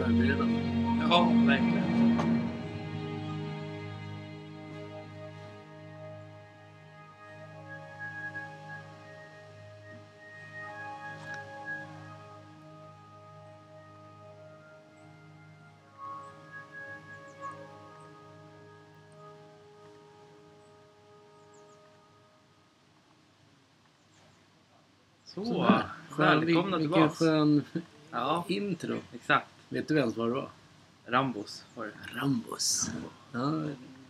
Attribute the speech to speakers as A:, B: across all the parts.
A: erbjudande.
B: Ja, verkligen. Så,
A: Sådär. Skön-
B: välkomna
A: vil-
B: tillbaks.
A: Vilken skön
B: Ja,
A: intro.
B: exakt.
A: Vet du ens vad det var?
B: Rambos var det.
A: Rambos. Ja,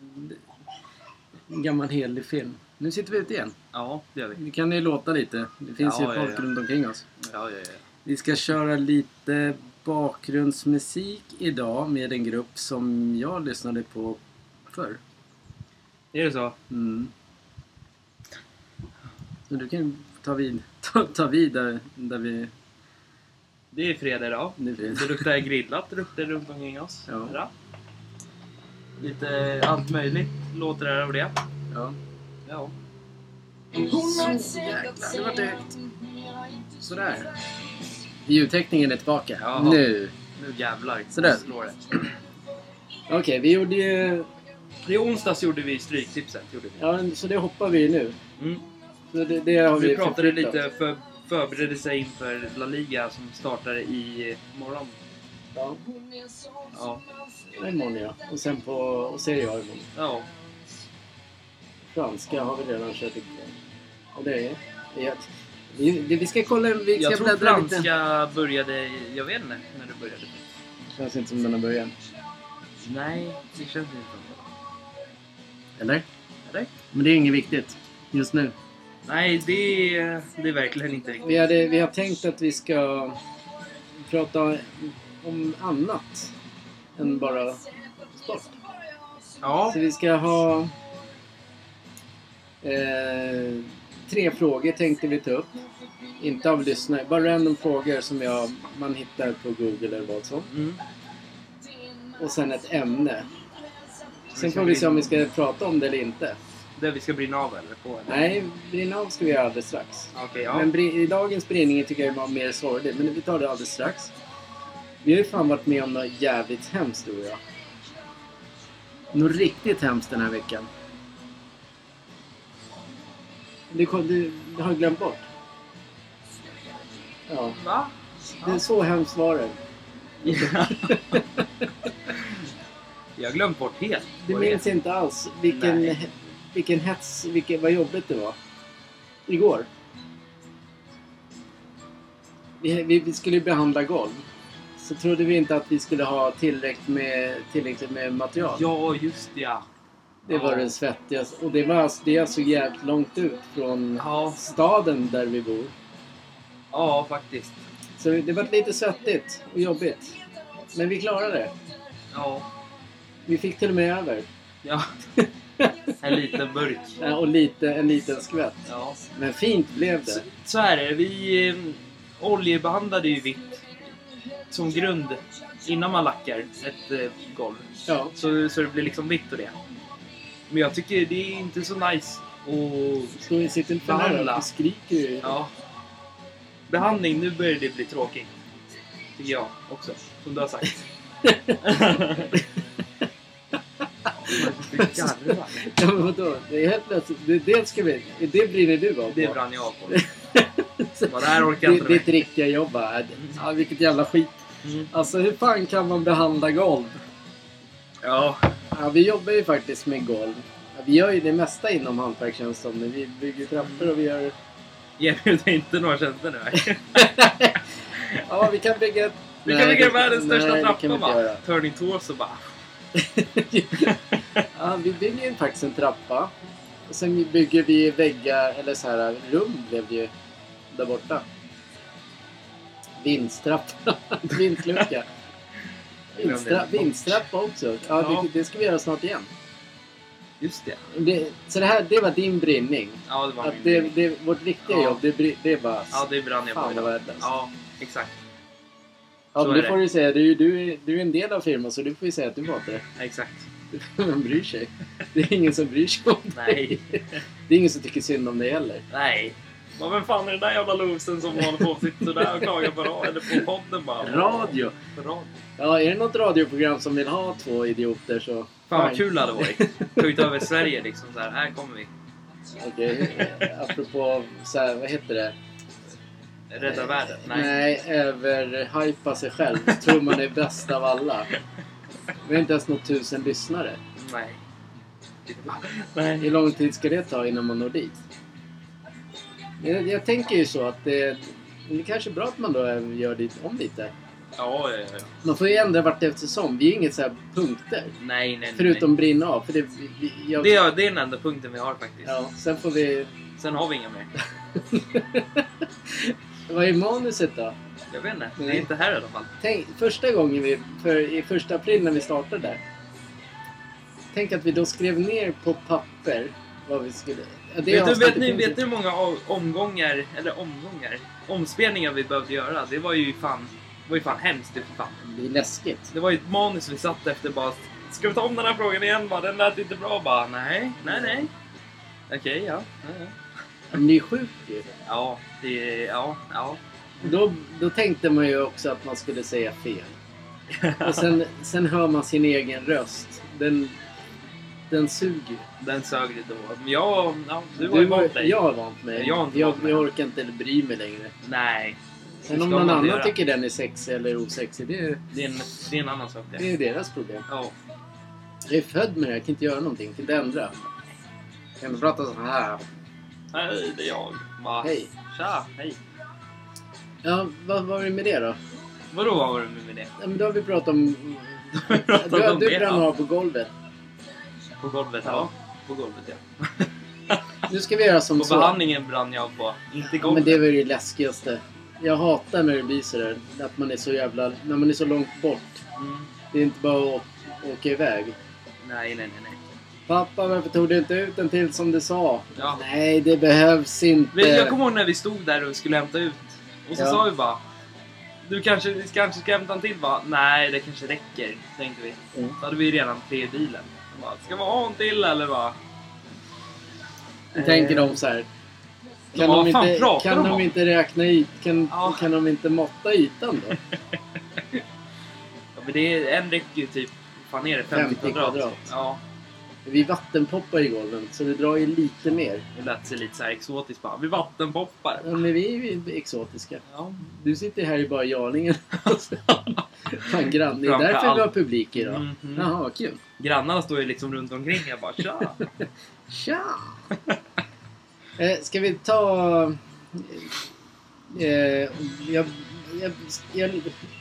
A: det- en gammal helig film. Nu sitter vi ute igen.
B: Ja, det gör vi.
A: Vi kan ju låta lite. Det finns
B: Ja,
A: ju folk
B: ja, ja.
A: runt omkring oss.
B: Ja, ja, ja.
A: Vi ska köra lite bakgrundsmusik idag med en grupp som jag lyssnade på förr.
B: Är det så?
A: Mm. Så du kan ju ta vid, ta, ta vid där, där vi...
B: Det är fredag idag.
A: Nu blir
B: Det luktar grillat luktar runt omkring oss.
A: Ja.
B: Här. Lite allt möjligt låter det här av det.
A: Ja.
B: Ja.
A: Så jäkla. Det var högt. Sådär. Ljudtäckningen är tillbaka.
B: Jaha.
A: Nu.
B: Nu jävlar
A: Sådär.
B: slår det.
A: Okej, vi gjorde ju...
B: I onsdags gjorde vi Stryktipset. Gjorde vi.
A: Ja, så det hoppar vi nu.
B: Mm.
A: Så det, det har vi,
B: vi pratade
A: förflyttat.
B: lite för förberedelse inför La Liga som startar i morgon.
A: Ja,
B: Ja.
A: det är imorgon ja. Och sen på... Och Serie A imorgon.
B: ja.
A: Franska har vi redan kört igång. Och det är... det är- Vi, vi ska kolla... Vi ska
B: Jag tror
A: bläddra lite.
B: franska började... i- Jag vet inte när det började.
A: Känns inte som den har börjat.
B: Nej, det känns inte så.
A: Eller?
B: Eller?
A: Men det är inget viktigt. Just nu.
B: Nej, det, det är verkligen inte riktigt.
A: Vi, hade, vi har tänkt att vi ska prata om annat än bara sport.
B: Ja,
A: Så vi ska ha eh, tre frågor tänkte vi ta upp. Inte av lyssnare, bara random frågor som jag, man hittar på Google eller vad som.
B: mm.
A: Och sen ett ämne. Sen
B: Vi ska
A: får vi se
B: brinna-
A: om vi ska prata om det eller inte.
B: Det vi ska brinna av eller på? Eller?
A: Nej, brinna av ska vi göra alldeles strax.
B: Okej, ja.
A: Men bri- i dagens beredning tycker jag det var mer sorgligt, men vi tar det alldeles strax. Vi har ju fan varit med om något jävligt hemskt, du och jag. Något riktigt hemskt den här veckan. Du, kom- du, du har glömt bort? Ja,
B: Va?
A: det är så hemskt var det.
B: Jag har glömt bort helt.
A: Du
B: vad det
A: minns
B: är.
A: inte alls vilken,
B: Nej.
A: vilken hets, vilken, vad jobbigt det var. Igår. Vi, vi, vi skulle ju behandla golv. Så trodde vi inte att vi skulle ha tillräckligt med, tillräckligt med material.
B: Ja, just det, ja.
A: Det var det svettigaste. Och det, var, alltså- det är alltså jävligt långt ut från
B: Ja,
A: staden där vi bor.
B: ja faktiskt.
A: Så det var lite svettigt och jobbigt. Men vi klarade det.
B: Ja.
A: Vi fick till och med över.
B: ja. En liten burk.
A: Ja, Och lite, en liten skvätt.
B: Ja.
A: Men fint blev
B: Så,
A: det.
B: så här är det. Vi eh, oljebehandlade ju vitt som grund innan man lackar ett eh, golv.
A: Ja.
B: Så, så det blir liksom vitt och det. Men jag tycker det är inte så nice och
A: Ska vi sitta inte för nära?
B: Behandla.
A: Vi skriker ju.
B: Ja. Behandling, nu börjar det bli tråkigt. Tycker jag också. Som du har sagt. Garva.
A: Ja, men vadå? Det är helt plötsligt. Det, det ska vi... Det brinner du av.
B: Det
A: på.
B: brann jag av på. Bara, Det här orkar jag
A: Det-
B: inte
A: Ditt
B: med.
A: riktiga jobb är... Ja, vilket jävla skit.
B: Mm.
A: Alltså hur fan kan man behandla golv?
B: Ja,
A: Ja, vi jobbar ju faktiskt med golv. Ja, vi gör ju det mesta inom hantverkstjänsten. men Vi bygger trappor och vi gör...
B: erbjuder inte några tjänster nu. här.
A: Ja, vi kan bygga...
B: Vi
A: Nej,
B: kan bygga
A: det-
B: världens största
A: nej, det
B: trappa
A: kan vi inte
B: bara.
A: göra.
B: Turning torso bara.
A: ja, vi bygger ju faktiskt en trappa. Och sen bygger vi väggar, eller så här, rum blev det ju där borta. Vindstrappa. Vindslucka. Vinstra, vindstrappa också. Ja,
B: Ja.
A: Det, det ska vi göra snart igen.
B: Just det.
A: Det, så det här, det var din brinning.
B: Ja, det var
A: Att
B: min
A: det,
B: mening.
A: det, vårt riktiga
B: Ja.
A: jobb, det, bri- det är bara...
B: Ja, det brann jag på
A: Fan vad
B: idag.
A: värdelöst. Ja,
B: Ja, exakt. så
A: men
B: är
A: det
B: det.
A: får du säga. Du, du, är- du är en del av firman så du får ju säga att du var det.
B: Exakt.
A: Vem bryr sig? Det är ingen som bryr sig om dig.
B: Nej.
A: Det är ingen som tycker synd om dig heller.
B: Nej. Bara, vem fan är den där jävla losern som håller på och sitter sådär och klagar på, ra- eller på podden bara?
A: Radio!
B: På radio.
A: Ja, är det något radioprogram som vill ha två idioter så...
B: Fan vad
A: Fine.
B: kul det hade varit. Ta ut över Sverige liksom så här. här kommer vi.
A: Okej, eh, apropå så här, vad heter det?
B: Rädda världen.
A: Nej,
B: Nej.
A: överhypa sig själv. Tror man är bäst av alla. Vi har inte ens nått tusen lyssnare.
B: Nej.
A: Hur
B: Nej.
A: lång tid ska det ta innan man når dit? Jag, jag tänker ju så att det, det kanske är bra att man då gör dit om lite.
B: Ja, ja, ja.
A: Man får ju ändra vart eftersom. Vi är ju inget så här punkter.
B: Nej, nej, nej.
A: Förutom brinna av. För det, vi- vi, jag,
B: Det är, det är den enda punkten vi har faktiskt.
A: ja, sen får vi...
B: Sen har vi inga mer.
A: Vad är manuset då?
B: Jag vet inte. Det
A: Nej.
B: är inte här i alla fall.
A: Tänk, första gången vi, för, i första april när vi startade. Tänk att vi då skrev ner på papper vad vi skulle... Ja,
B: Vet, du,
A: avsnittet
B: vet, ni,
A: finns
B: vet ni hur många av- omgångar, eller omgångar, omspelningar vi behövde göra? Det var ju fan, det var ju fan hemskt. Det, fan.
A: Det är läskigt.
B: det var ju ett manus vi satt efter bara. Ska vi ta om den här frågan igen? Bara, den lät inte bra. Bara, nej, nej, nej. Okej, ja. ja, ja.
A: Men det är sjukt ju.
B: Ja, det, ja, ja.
A: Då, då tänkte man ju också att man skulle säga fel. Och sen, sen hör man sin egen röst. Den, den suger.
B: Den sög lite då. Men jag, ja, du har
A: Du
B: ju vant dig.
A: Jag har vant mig.
B: Jag har inte
A: jag,
B: vant mig.
A: jag orkar inte bry mig längre.
B: Nej.
A: Sen
B: Ska
A: om någon
B: man
A: annan
B: göra.
A: tycker den är sexig eller osexig, det är,
B: Det är en, det är en annan sak
A: det
B: det.
A: är deras problem.
B: Ja.
A: Jag är född med det, jag kan inte göra någonting, jag kan inte ändra. Jag kan inte prata så här.
B: Hej, det är jag. Va?
A: Hej.
B: Tja, hej.
A: Ja, vad var det med det då?
B: Vadå, vad var det med det?
A: Ja, men då har vi pratat om...
B: Vi pratade
A: Du,
B: om
A: du
B: det,
A: brann
B: ja.
A: av på golvet.
B: På golvet, ja. På golvet, ja.
A: Nu ska vi göra som
B: På behandlingen brann jag på. Inte
A: Ja, men
B: golvet.
A: det är väl det läskigaste. Jag hatar när det blir sådär. Att man är så jävla... När man är så långt bort.
B: Mm.
A: Det är inte bara att å- åka iväg.
B: Nej, nej, nej, nej.
A: Pappa, varför tog du inte ut den till som du sa?
B: Ja.
A: Nej, det behövs inte.
B: Vi, jag kommer ihåg när vi stod där och skulle hämta ut. Och så
A: Eh. Ja.
B: sa vi bara. Du kanske, vi kanske ska hämta en till? Bara, nej, det kanske räcker. Tänkte vi.
A: Mm.
B: Då hade vi redan tre i bilen. Bara, ska vi ha en till eller vad?
A: Då Eh, tänker de så här.
B: De
A: Kan
B: bara,
A: de,
B: "Fan,
A: inte,
B: pratar
A: kan
B: de
A: de
B: om?"
A: inte räkna yt, kan,
B: Ja.
A: kan de inte måtta ytan då?
B: Ja, men det är, en räcker ju typ, fan är det? 50,
A: 50
B: kvadrat.
A: kvadrat.
B: Ja,
A: Vi vattenpoppar i golven så det drar ju lite mer.
B: det lät sig lite så här exotiskt bara. Vi vattenpoppar.
A: Ja, men vi är ju exotiska.
B: Ja.
A: Du sitter här i bara Jarlingen. Fan grann, det är
B: Framför
A: därför vi har
B: allt.
A: publik idag.
B: Mhm.
A: Jaha, vad kul.
B: Grannarna står ju liksom runt omkring. Jag bara tja.
A: Tja! eh, ska vi ta... Eh, jag, jag, jag,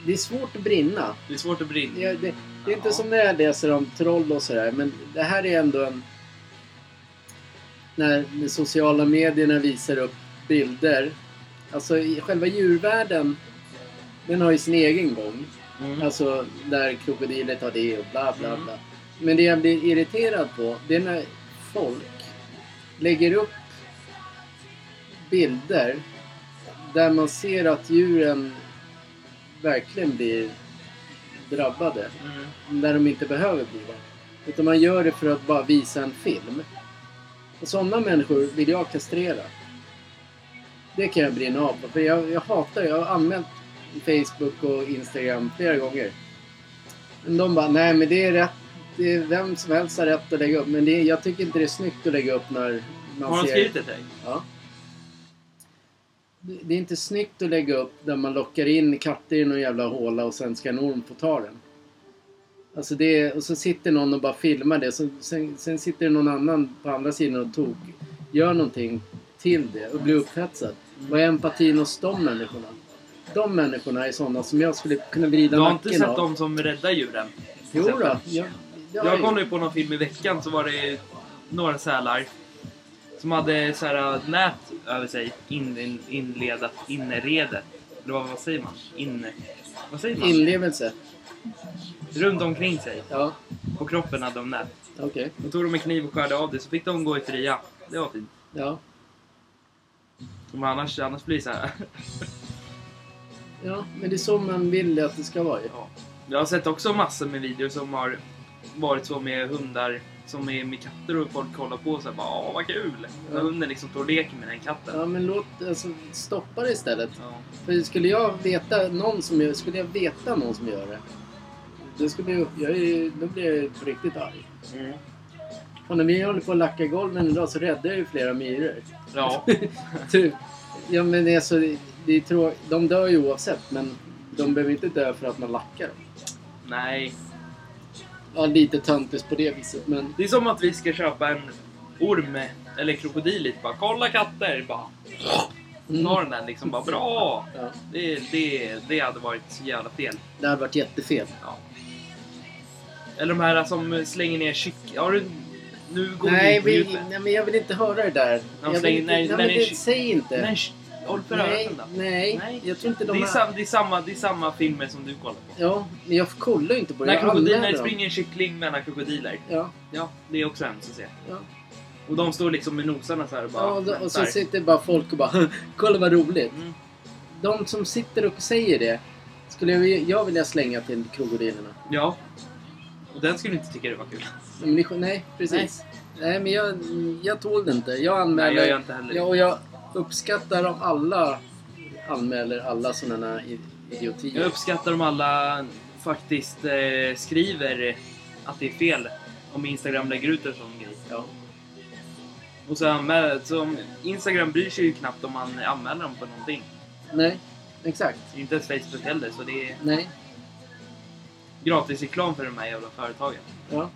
A: det är svårt att brinna.
B: Det är svårt att brinna.
A: Jag, det, det är inte
B: Ja.
A: som när jag läser om troll och sådär, men det här är ändå en... När de sociala medierna visar upp bilder. Alltså i själva djurvärlden, den har ju sin egen gång.
B: Mm.
A: Alltså där krokodiler tar det och bla bla
B: Mm.
A: bla. Men det jag blir irriterad på det är när folk lägger upp bilder där man ser att djuren verkligen blir drabbade.
B: Mm.
A: Där de inte behöver bli det. Utan man gör det för att bara visa en film. Och sådana människor vill jag kastrera. Det kan jag brinna av på, För jag, jag hatar Jag har använt Facebook och Instagram flera gånger. Men de bara, nej men det är rätt. Det är vem som helst har rätt att lägga upp. Men det, är- jag tycker inte det är snyggt att lägga upp när man
B: Har de
A: ser...
B: skrivit det till dig?
A: Ja. Det det är inte snyggt att lägga upp där man lockar in katter i någon jävla håla och sen ska en orm få ta den. Alltså det är, och så sitter någon och bara filmar det. Så, sen, sen sitter det någon annan på andra sidan och tog, gör någonting till det och blir upphetsad. Vad är empatin hos de människorna? De människorna är sådana som jag skulle kunna vrida
B: Du har inte
A: nacken
B: sett
A: av.
B: dem som räddar djuren?
A: Jo
B: Sett dem.
A: då, jag,
B: Jag kollade ju på någon film i veckan så var det några sälar som hade så här äh, nät över sig. In, in, inledat, inredet. Eller vad, vad säger man? Inne... Vad säger man?
A: Inlevelse.
B: Runt omkring sig.
A: Ja,
B: På kroppen hade de nät.
A: okej.
B: Då tog de en kniv och skärde av det så fick de gå i fria. Det var fint.
A: Ja.
B: Men annars, annars blir det så här.
A: ja, men det är så man vill att det ska vara ju.
B: Ja. Jag har sett också massor med videor som har varit så med hundar som är med katter och folk kollar på och så här, bara åh vad kul! När hunden liksom står och leker med den katten.
A: Ja, men låt, alltså, stoppa det istället.
B: Ja.
A: För skulle jag veta någon som gör, skulle jag veta någon som gör det, då skulle jag, jag är, då blir jag på riktigt arg. Och när vi håller på att lacka golven idag så räddar jag ju flera myror.
B: Ja.
A: Typ. Ja men det är så, det är trå- de dör ju oavsett men de behöver inte dö för att man lackar dem.
B: Nej.
A: Ja, lite töntigt på det viset men...
B: Det är som att vi ska köpa en orm eller krokodil hit bara kolla katter! Bara ta den där liksom bara bra!
A: Mm. Ja,
B: Det, det, det hade varit så jävla fel.
A: det hade varit jättefel.
B: Ja. Eller de här som slänger ner kyck... Har du... Nu går
A: Nej,
B: vi på
A: vi,
B: djupet.
A: nej men jag vill inte höra det där. Jag vill
B: slänger-
A: inte,
B: nej,
A: nej,
B: när
A: men
B: det är-
A: det, säg inte.
B: Nej, sh- håll för
A: nej,
B: öronen då.
A: nej,
B: Nej.
A: jag tror inte de
B: Det är,
A: har-
B: sam, det, är samma, det är samma filmer som du kollar på.
A: Ja, men jag kollar ju inte på det.
B: När
A: jag
B: krokodiler
A: anmäler dem.
B: springer en kyckling mellan krokodiler.
A: Ja,
B: Ja, det är också hemskt att se.
A: ja.
B: Och de står liksom med noserna så här och bara
A: ja och, då, och så
B: väntar.
A: sitter bara folk och bara Kolla vad roligt.
B: Mm.
A: De som sitter och säger det skulle jag, jag vilja slänga till krokodilerna.
B: Ja. Och den skulle inte tycka det var kul.
A: Nej, Men det, nej, precis. Nej, men jag, jag tål det inte. Jag anmäler...
B: Nej, jag gör inte heller
A: Ja,
B: det.
A: och jag uppskattar om alla anmäler alla sådana idiotier.
B: Jag uppskattar om alla faktiskt eh, skriver att det är fel. Om Instagram lägger ut en sån grej.
A: Ja.
B: Och så anmäler, så om- Instagram bryr sig ju knappt om man anmäler dem på någonting.
A: Nej, exakt.
B: Inte ens Facebook heller, så det är
A: Nej.
B: gratis reklam för de här jävla företagen.
A: Ja.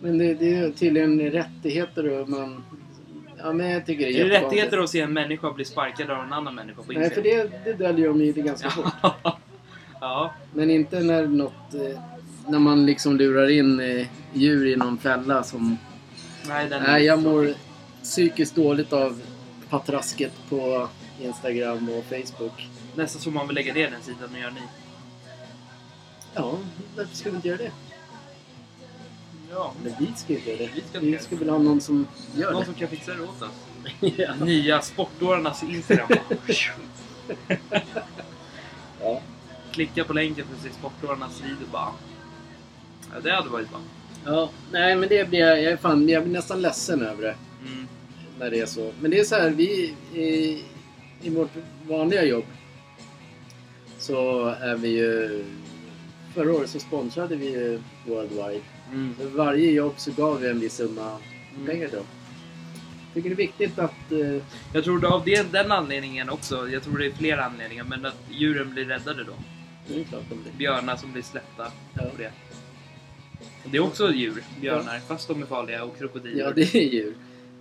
A: Men det, det är tydligen rättigheter och man... Ja, men jag tycker det
B: Är det
A: jättekonstigt.
B: rättigheter att se en människa bli sparkad av en annan människa på
A: Nej, för
B: Instagram?
A: det, det döljer de ju det ganska fort.
B: Ja. ja.
A: Men inte när något... eh, När man liksom lurar in eh, djur i någon fälla som...
B: Nej, den
A: Nej, jag mår psykiskt dåligt av patrasket på Instagram och Facebook.
B: Nästan som man vill lägga ner den sidan, men gör ni?
A: Ja, varför ska vi inte göra det?
B: Ja.
A: Men vi ska inte göra det.
B: Vi ska inte
A: Vi
B: göra
A: ska
B: det.
A: väl ha någon som gör
B: Någon
A: det.
B: som kan fixa det åt oss?
A: ja.
B: Nya Sportdårarnas Instagram.
A: Ja.
B: Klicka på länken för att se Sportdårarnas video bara. Ja, det hade varit bra.
A: ja. Nej, men det blir jag... Jag, är fan, jag blir nästan ledsen över det.
B: Mm.
A: När det är så. Men det är så här, vi... I, i vårt vanliga jobb så är vi ju... Förra året så sponsrade vi ju Worldwide.
B: Mm.
A: För varje jobb så gav vi en viss summa
B: Mm.
A: pengar till dem. Tycker det är viktigt att... eh,
B: Jag tror det av det, den anledningen också, jag tror det är flera anledningar, men att djuren blir räddade då.
A: det är klart om det.
B: Björnar som blir släppta.
A: Ja.
B: Och det. Och det är också djur, björnar, fast de är farliga och krokodiler.
A: Ja, det är ju...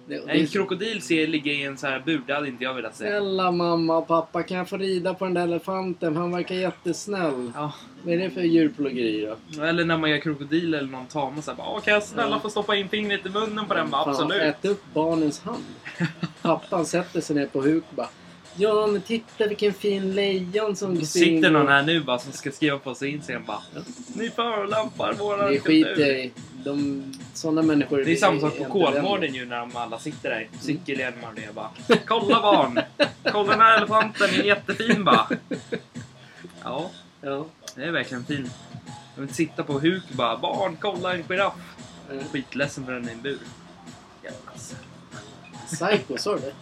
A: Det,
B: Nej, En
A: det,
B: krokodil ser jag ligga i en så här bur, det hade inte jag velat se.
A: snälla mamma och pappa, kan jag få rida på den där elefanten? Han verkar jättesnäll.
B: Ja.
A: Vad är det för djurplågeri då?
B: Eller när man gör krokodil eller någon tama såhär bara "Åh, kan jag snälla
A: Ja.
B: få stoppa in fingret i munnen på den? Bara,
A: Fan,
B: Absolut!
A: Ät upp barnens hand. Pappan sätter sig ner på huk och bara Ja, men titta vilken fin lejon som
B: Då
A: springer."
B: sitter någon här nu bara som ska skriva på sig Instagram bara
A: Ja.
B: Ni förolämpar våran
A: Det skiter jag i. De, sådana människor...
B: Det är samma sak på
A: inte vänner.
B: Kolmården ju när de alla sitter där.
A: Mm.
B: Cykelhjälmar och det bara. Kolla barn! Kolla den här elefanten är jättefin bara. Ja,
A: Ja.
B: det är verkligen fin. De vill sitta på huk och bara. Barn, kolla en giraff!
A: eh,
B: Skitledsen för den är i en bur. Jävla säl.
A: Psycho, sa du det?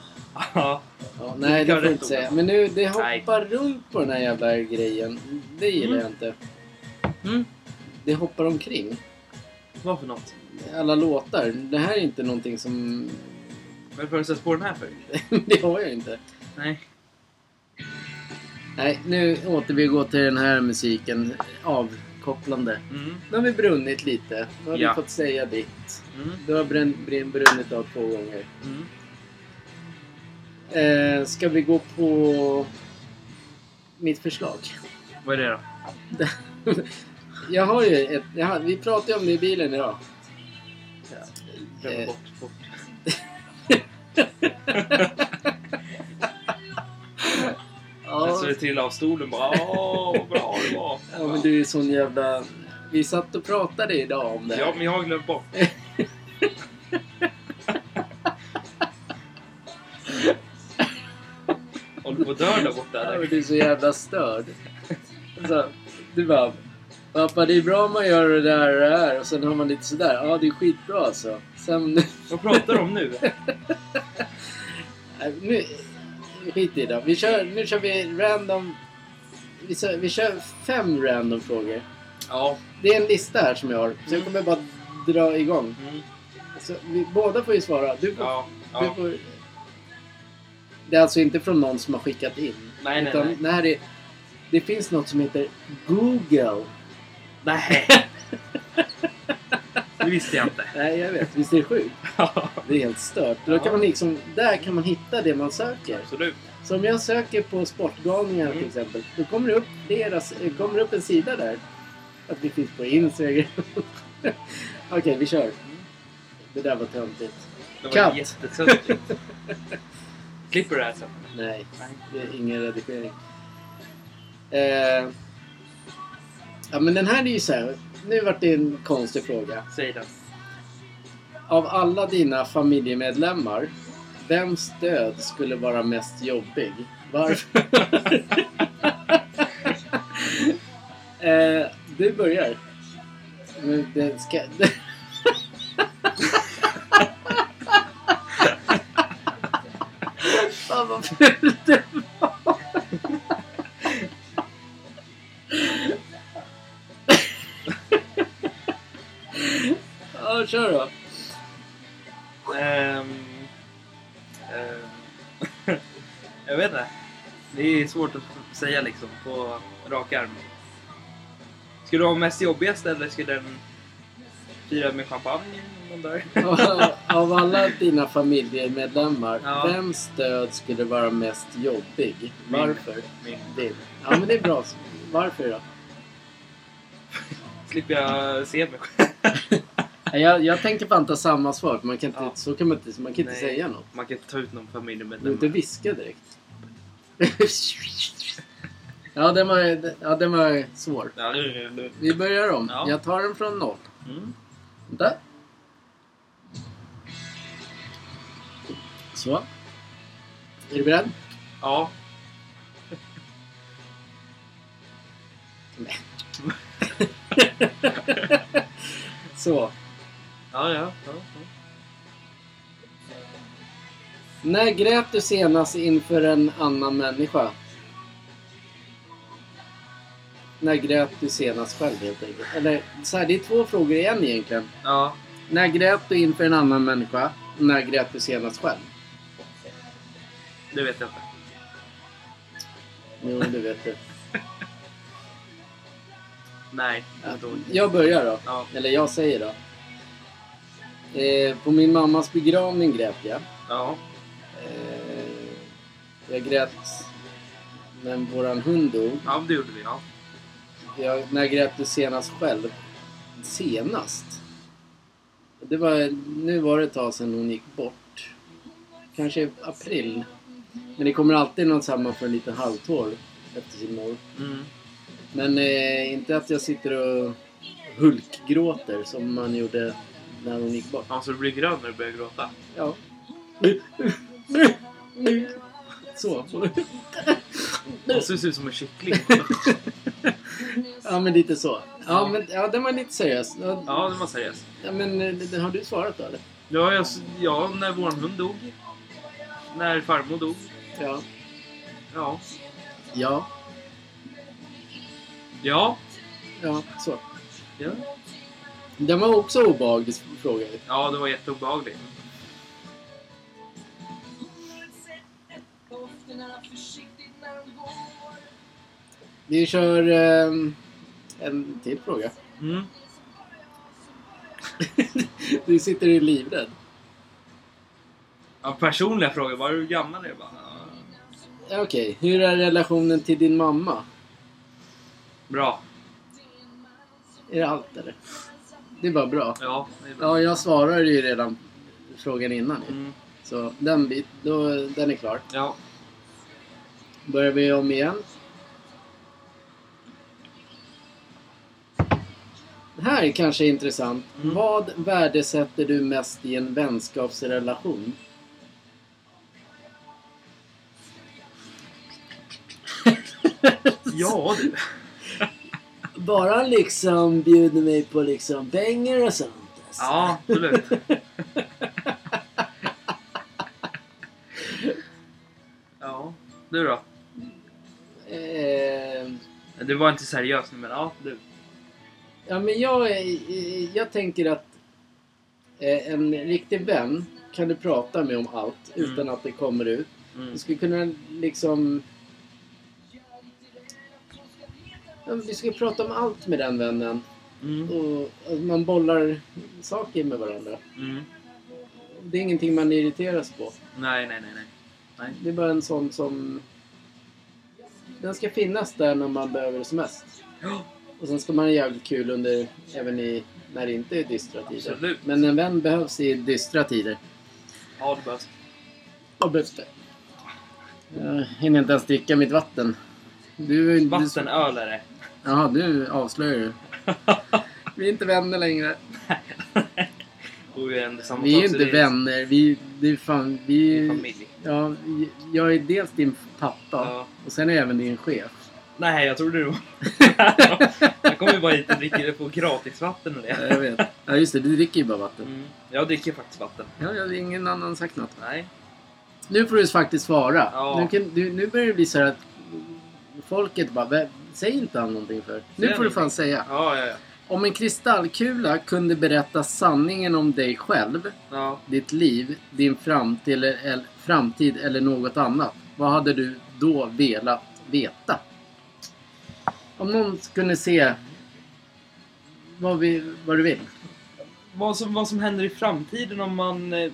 B: Ja.
A: Ja, nej, det
B: gör
A: får jag
B: rätt
A: inte
B: ord.
A: säga. Men nu, det
B: Nej.
A: hoppar runt på den här jävla grejen. Det gillar
B: Mm.
A: jag inte.
B: Mm.
A: Det hoppar omkring.
B: Vad för något?
A: alla låtar. Det här är inte någonting som...
B: Varför har du satt på den här för?
A: det har jag inte.
B: Nej.
A: Nej, nu återgår till den här musiken. Avkopplande.
B: Mm.
A: Nu har vi brunnit lite. Nu har
B: Ja.
A: vi fått säga ditt.
B: Mm.
A: Du har brun, brun, brunnit av två gånger.
B: Mm.
A: Eh, ska vi gå på mitt förslag?
B: Vad är det då?
A: Jag har ju ett... Jag har, vi pratade ju om det i bilen idag.
B: Glömmer
A: Eh.
B: bort. bort. Sen så Alltså, det trillade av stolen bara. Åh, vad bra det var.
A: ja, men du är sån jävla... Vi satt och pratade idag om det här.
B: Ja, men jag har glömt bort. Håller på att dö där borta
A: Ja, men
B: eller?
A: du är så jävla störd. Alltså, du bara... "Vad Pappa, det är bra om man gör det där och det här och sen har man lite sådär. Ja, det är skitbra alltså. Sen...
B: Vad pratar de om nu?
A: Nej, äh, nu skit i det. Vi kör, nu kör vi random... Vi kör, vi kör fem random frågor.
B: Ja.
A: Det är en lista här som jag har. Sen
B: Mm.
A: kommer jag bara dra igång.
B: Mm.
A: Så vi, båda får ju svara. Du får,
B: Ja.
A: du
B: ja.
A: får... Det är alltså inte från någon som har skickat in.
B: Nej, nej,
A: utan
B: nej.
A: Det, här är, det finns något som heter Google.
B: Nej. Det visste jag inte.
A: Nej, jag vet. Visst är det sjukt? Det är helt stört. Då
B: Ja.
A: kan man liksom, där kan man hitta det man söker.
B: Absolut.
A: Så om jag söker på sportgalningar till
B: Mm.
A: exempel, då kommer det upp, deras, eh, kommer det upp en sida där. Att vi finns på Instagram. Okej, vi kör. Det där var töntigt.
B: Det
A: Katt.
B: var jättetöntigt. Klipper du det här sen?
A: Nej,
B: Nej.
A: det är ingen redigering. Eh, ja, men den här är ju så här. Nu vart det en konstig fråga.
B: Säg den.
A: Av alla dina familjemedlemmar, vems död skulle vara mest jobbig? Varför? eh, du börjar. Men det ska... Fan vad fult det var! Ja, kör då.
B: Ehm, ehm, jag vet inte. Det är svårt att säga liksom på rak arm. Skulle du ha mest jobbigast eller skulle den fira med champagne? någon dag?
A: Av- Av alla dina familjemedlemmar,
B: Ja.
A: vems död skulle vara mest jobbig?
B: Min.
A: Varför?
B: Min.
A: Din. Ja, men det är bra. Varför då?
B: Slipper jag se mig själv.
A: Nej, Jag, jag tänker fan ta samma svar, för man kan inte,
B: Ja.
A: så kan man inte, man kan inte
B: Nej.
A: säga något.
B: Man kan inte ta ut någon
A: Du får inte
B: familjemedlem.
A: viska direkt. ja, den var, ja, den var svår.
B: Ja, nu- nu- nu.
A: Vi börjar om.
B: Ja.
A: Jag tar den från noll.
B: Mm.
A: Vänta. Så. Är du beredd?
B: Ja.
A: Så.
B: Ja, ja. ja,
A: När grät du senast inför en annan människa? När grät du senast själv helt enkelt? Eller så här, det är två frågor i en egentligen.
B: ja. ja.
A: När grät du inför en annan människa? Och när grät du senast själv?
B: Det vet jag inte.
A: Jo, det vet du.
B: Nej,
A: Ja,
B: inte ihåg.
A: Jag börjar då.
B: Ja.
A: Eller jag säger då. Eh, på min mammas begravning grät jag.
B: Ja.
A: Eh, jag grät när våran hund dog.
B: ja, men det gjorde vi. Ja.
A: Jag, när grät du senast själv? Senast? Det var, nu var det ett tag sedan hon gick bort. Kanske i april. Men det kommer alltid någon samma för en liten halvtår efter sin mor.
B: Mm.
A: Men eh, inte att jag sitter och hulkgråter som man gjorde när hon gick bort.
B: ja, så du blir grön när du börjar gråta.
A: Ja. Så.
B: Och så ser ut som en kyckling.
A: Ja men lite så. Ja men ja, den var lite seriös. Ja,
B: ja, det var seriöst.
A: Ja, men eh, den- har du svarat då eller?
B: Ja, jag, ja, när vår hund dog. När farmor dog.
A: Ja.
B: Ja.
A: Ja.
B: Ja.
A: Ja, så.
B: Ja,
A: Den var också obehaglig fråga.
B: ja det var jätteobehagligt.
A: Vi kör ehm, en till fråga.
B: Mm.
A: Du sitter i livrädd.
B: Ja, personliga frågor. Var du gammal är bara. Ja.
A: Okej, hur är relationen till din mamma?
B: Bra.
A: Är det allt eller? Det är bara bra.
B: Ja, det är bra.
A: Ja, jag svarade ju redan frågan innan ju.
B: Mm.
A: Så den bit, då, den är klar.
B: Ja.
A: Börjar vi om igen. Det här är kanske intressant.
B: Mm.
A: Vad värdesätter du mest i en vänskapsrelation?
B: ja, du.
A: Bara han liksom bjuder mig på liksom pengar och sånt. alltså.
B: Ja, absolut. ja, du då?
A: Eh,
B: Du var inte seriös nu men ja, du.
A: ja men jag, eh, jag tänker att eh, en riktig vän kan du prata med om allt
B: Mm.
A: utan att det kommer ut.
B: Mm.
A: Du skulle kunna liksom... Ja, men Du ska prata om allt med den vännen.
B: Mm.
A: Och att man bollar saker med varandra.
B: Mm.
A: Det är ingenting man irriteras på.
B: Nej, nej, nej, nej. nej.
A: Det är bara en sån som... Den ska finnas där när man behöver det som mest.
B: Ja,
A: Och sen ska man ha jävligt kul under, även i, när det inte är dystra tider.
B: Absolut.
A: Men en vän behövs i dystra tider.
B: Ja, det behövs.
A: Och behövs det. Jag hinner inte ens dricka mitt vatten. Du, du,
B: Vattenöl är det.
A: Jaha, du avslöjar ju. Vi är inte vänner längre.
B: Och vi är ändå samma
A: Vi är
B: sak,
A: ju
B: så
A: inte
B: det är-
A: vänner. Vi, det är fan,
B: det är
A: vi...
B: Familj.
A: Ja, jag är dels din pappa
B: Ja.
A: och sen är jag även din chef.
B: Nej, jag trodde det var... jag kommer ju bara hit och dricker på gratisvatten och
A: Ja,
B: det.
A: jag vet. Ja, just det. Du dricker ju bara vatten.
B: Mm. Jag dricker faktiskt vatten.
A: Ja, jag, ingen annan sagt något.
B: Nej.
A: Nu får du faktiskt svara.
B: Ja.
A: Nu, kan, du, nu börjar det bli så här att folket bara, "Vä- säg inte han någonting för. Nu
B: Säg
A: får du
B: ingenting.
A: fan säga.
B: Ja, ja, ja.
A: Om en kristallkula kunde berätta sanningen om dig själv,
B: ja.
A: ditt liv, din framtid eller, eller, framtid eller något annat. Vad hade du då velat veta? Om någon kunde se vad, vi, vad du vill.
B: Vad, som, vad som händer i framtiden om man... eh,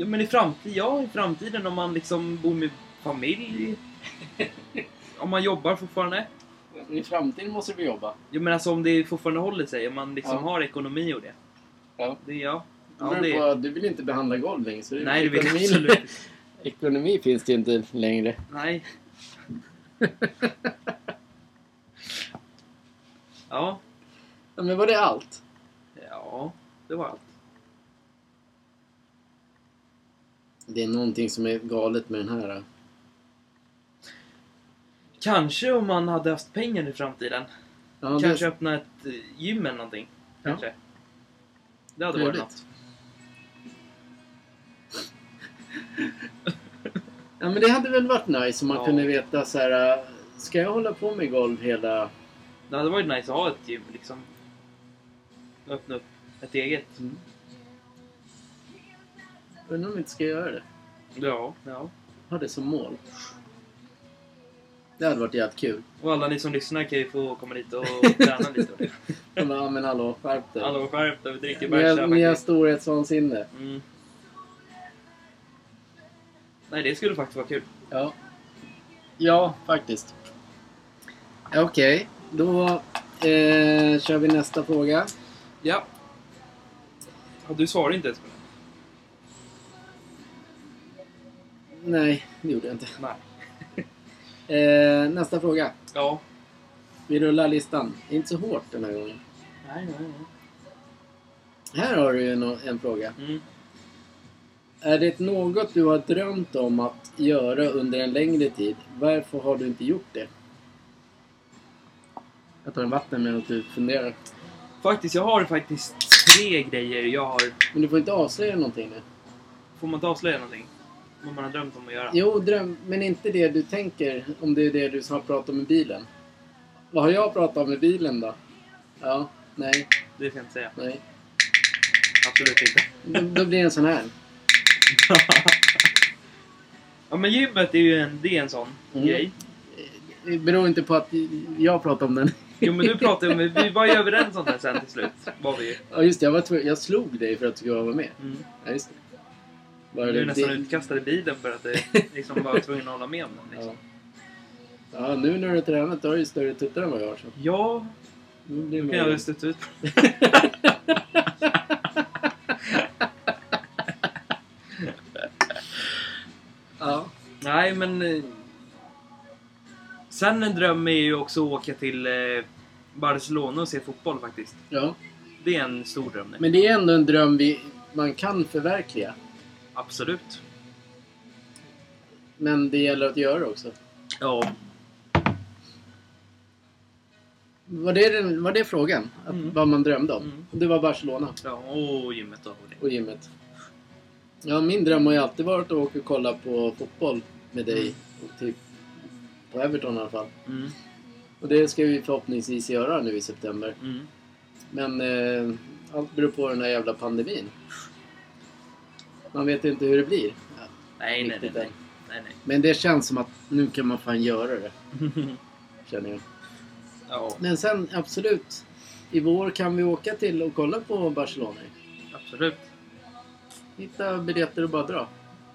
B: Ja, men i framtiden, ja, i framtiden om man liksom bor med familj. om man jobbar fortfarande.
A: I framtiden måste vi jobba.
B: Jo men alltså om det fortfarande håller sig, om man liksom
A: Ja.
B: har ekonomi och det.
A: Ja.
B: Det är jag.
A: Ja,
B: Ja, det,
A: du vill inte behandla golv längre. Så
B: nej, det vill jag absolut
A: Ekonomi finns det ju inte längre.
B: Nej. ja.
A: Ja, men var det allt?
B: Ja, det var allt.
A: Det är någonting som är galet med den här. eh. då.
B: Kanske om man hade haft pengar i framtiden.
A: Ja, det-
B: Kanske öppna ett eh, gym eller någonting.
A: Ja.
B: Kanske. Det hade varit
A: Trevligt.
B: något.
A: Ja, men det hade väl varit nice om man
B: Ja.
A: kunde veta så här. äh, Ska jag hålla på med golv hela...
B: Det hade varit nice att ha ett gym liksom. Öppna upp ett eget.
A: Undrar om vi inte ska göra det.
B: Ja. ja.
A: Ha det som mål. Det hade varit jävligt kul.
B: Och alla ni som lyssnar kan ju få komma dit och träna lite. och det.
A: Jag bara, Ja men hallå, skärp dig.
B: Hallå skärp dig, vi dricker
A: Ni har-
B: bärs
A: Ni har
B: här
A: storhetsvansinne.
B: mm. Nej, det skulle faktiskt vara kul.
A: Ja. Ja, faktiskt. Okej, då eh, kör vi nästa fråga.
B: Ja. ja du svarar inte ens på det.
A: Nej, det gjorde jag inte.
B: Nej.
A: Eh, nästa fråga.
B: Ja.
A: Vi rullar listan. Det är inte så hårt den här gången.
B: Nej, nej,
A: Här har du en, en fråga.
B: nej. Mm.
A: Är det något du har drömt om att göra under en längre tid? Varför har du inte gjort det? Jag tar en vatten medan du funderar.
B: Faktiskt, jag har faktiskt tre grejer jag har...
A: Men du får inte avslöja någonting nu.
B: Får man inte avslöja någonting? Vad man har drömt om att göra?
A: Jo, dröm, men inte det du tänker om det är det du har pratat om i bilen. Vad har jag pratat om i bilen då? Ja, nej,
B: Det ska jag inte säga.
A: nej.
B: Absolut inte.
A: Då, då blir det en sån här.
B: ja, men gymmet är ju en, det är en sån
A: Mm.
B: grej.
A: Det beror inte på att jag pratar om den.
B: Jo, men du pratade om... Vi var ju överens om det sen till slut. Var vi ju.
A: Ja, just det. Jag, var tvungen- jag slog dig för att du skulle vara med.
B: Mm.
A: Ja, just det. Var
B: Du är nästan
A: det-
B: utkastad i bilen för att du liksom var tvungen att hålla med om den.
A: Ja.
B: Liksom.
A: ja, nu när du har tränat då har du ju större tuttar än vad jag har. Så.
B: Ja,
A: Nu blir
B: då
A: det
B: kan jag
A: mer-
B: väl stötta ut.
A: ja.
B: Nej, men... eh, Sen en dröm är ju också att åka till eh, Barcelona och se fotboll faktiskt.
A: ja.
B: Det är en stor dröm. det.
A: Men det är ändå en dröm vi, man kan förverkliga.
B: Absolut.
A: Men det gäller att göra också.
B: Ja.
A: Var det, den- var det frågan? Att,
B: Mm.
A: Vad man drömde om?
B: Mm.
A: Det var Barcelona
B: Ja, och gymmet då. Och det.
A: och gymmet. Ja, min dröm har ju alltid varit att åka och kolla på fotboll med dig.
B: Mm.
A: Och typ på Everton i alla fall.
B: Mm,
A: Och det ska vi förhoppningsvis göra nu i september.
B: mm.
A: Men eh, allt beror på den här jävla pandemin. Man vet inte hur det blir.
B: Nej, nej, nej,
A: Riktigt
B: nej.
A: än.
B: nej, nej.
A: Men det känns som att nu kan man fan göra det. Känner jag.
B: ja,
A: Men sen absolut. I vår kan vi åka till och kolla på Barcelona.
B: absolut.
A: Hitta biljetter och bara dra.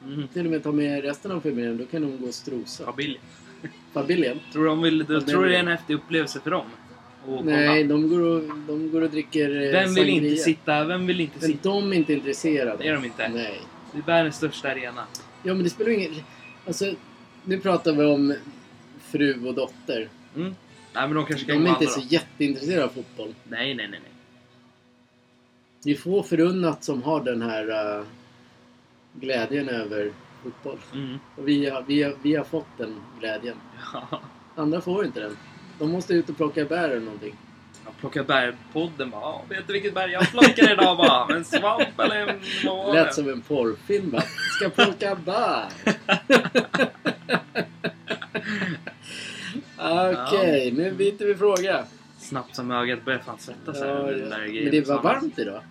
B: Mm.
A: Till och med ta med resten av familjen. Då kan de gå och strosa.
B: Familj.
A: Familjen?
B: Tror du de vill, du,
A: Familj.
B: tror du det är en häftig upplevelse för dem? att kolla?
A: Nej, de går och, de går och dricker eh,
B: Vem vill inte
A: sangria.
B: sitta? Vem vill inte
A: Men
B: sitta?
A: de är inte intresserade.
B: Det är de inte.
A: Nej.
B: Det är världens största arena.
A: Ja, men det spelar ingen... Alltså, nu pratar vi om fru och dotter.
B: Mm. Nej, men de kanske kan
A: De är
B: gå
A: inte
B: andra
A: så
B: då.
A: jätteintresserade av fotboll.
B: Nej, nej, nej, nej.
A: Det är få förunnat som har den här eh, glädjen över fotboll.
B: Mm.
A: Och vi har, vi, har, vi har fått den glädjen.
B: Ja.
A: Andra får inte den. De måste ut och plocka bär eller någonting.
B: Jag plockar bärpodden bara. "Ja, Vet du vilket berg jag plockar idag bara? En svamp eller en... Vad var det?"
A: Lät som en porrfilm va? Ska plocka bär! Okej, nu byter vi fråga.
B: Snabbt som ögat börjar fan svettas här.
A: Ja,
B: med
A: ja.
B: den där
A: Men
B: grejen
A: det var
B: på sommaren.
A: varmt idag.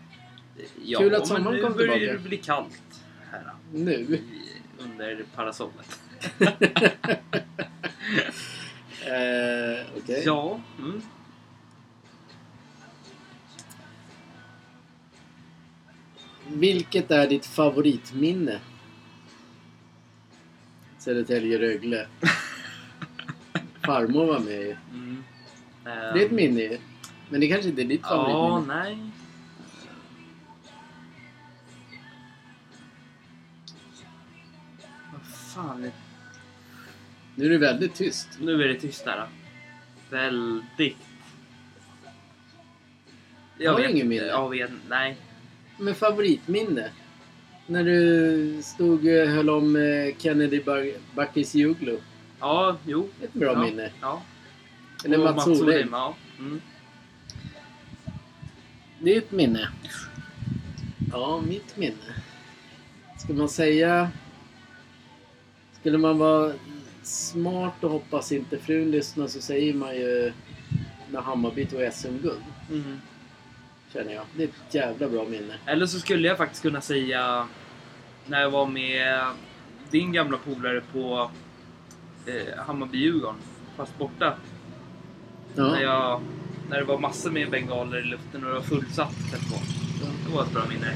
B: Ja,
A: Kul att
B: men
A: sommaren kom
B: nu börjar
A: tillbaka.
B: det bli kallt här
A: Nu.
B: i- under parasollet.
A: Eh, Okej.
B: Ja. Mm.
A: Vilket är ditt favoritminne? Södertälje-Rögle. Farmor var med ju.
B: Mm. Ehm,
A: Det är ett minne ju. Men det kanske inte är ditt
B: Ja,
A: favoritminne?
B: nej. Vad fan. är-
A: Nu är det väldigt tyst.
B: Nu är det tyst där. då. Väldigt. Jag
A: Har du
B: vet
A: ingen
B: inte.
A: minne?
B: Jag vet Nej.
A: Men favoritminne? När du stod och höll om eh, Kennedy Bar- Bakircioglu.
B: Ja, jo.
A: Ett bra
B: ja.
A: minne.
B: Ja.
A: Eller
B: Och
A: Mats Oling.
B: Ja. Mm.
A: Det är ett minne. Ja, mitt minne. Ska man säga... Skulle man vara smart och hoppas inte frun lyssnar så säger man ju när Hammarby tog SM-guld.
B: Mm.
A: Känner jag. Det är ett jävla bra minne.
B: Eller så skulle jag faktiskt kunna säga när jag var med din gamla polare på eh, Hammarby-Djurgården, fast borta. När,
A: Ja.
B: jag, när det var massor med bengaler i luften och det var fullsatt på. Det var ett bra minne.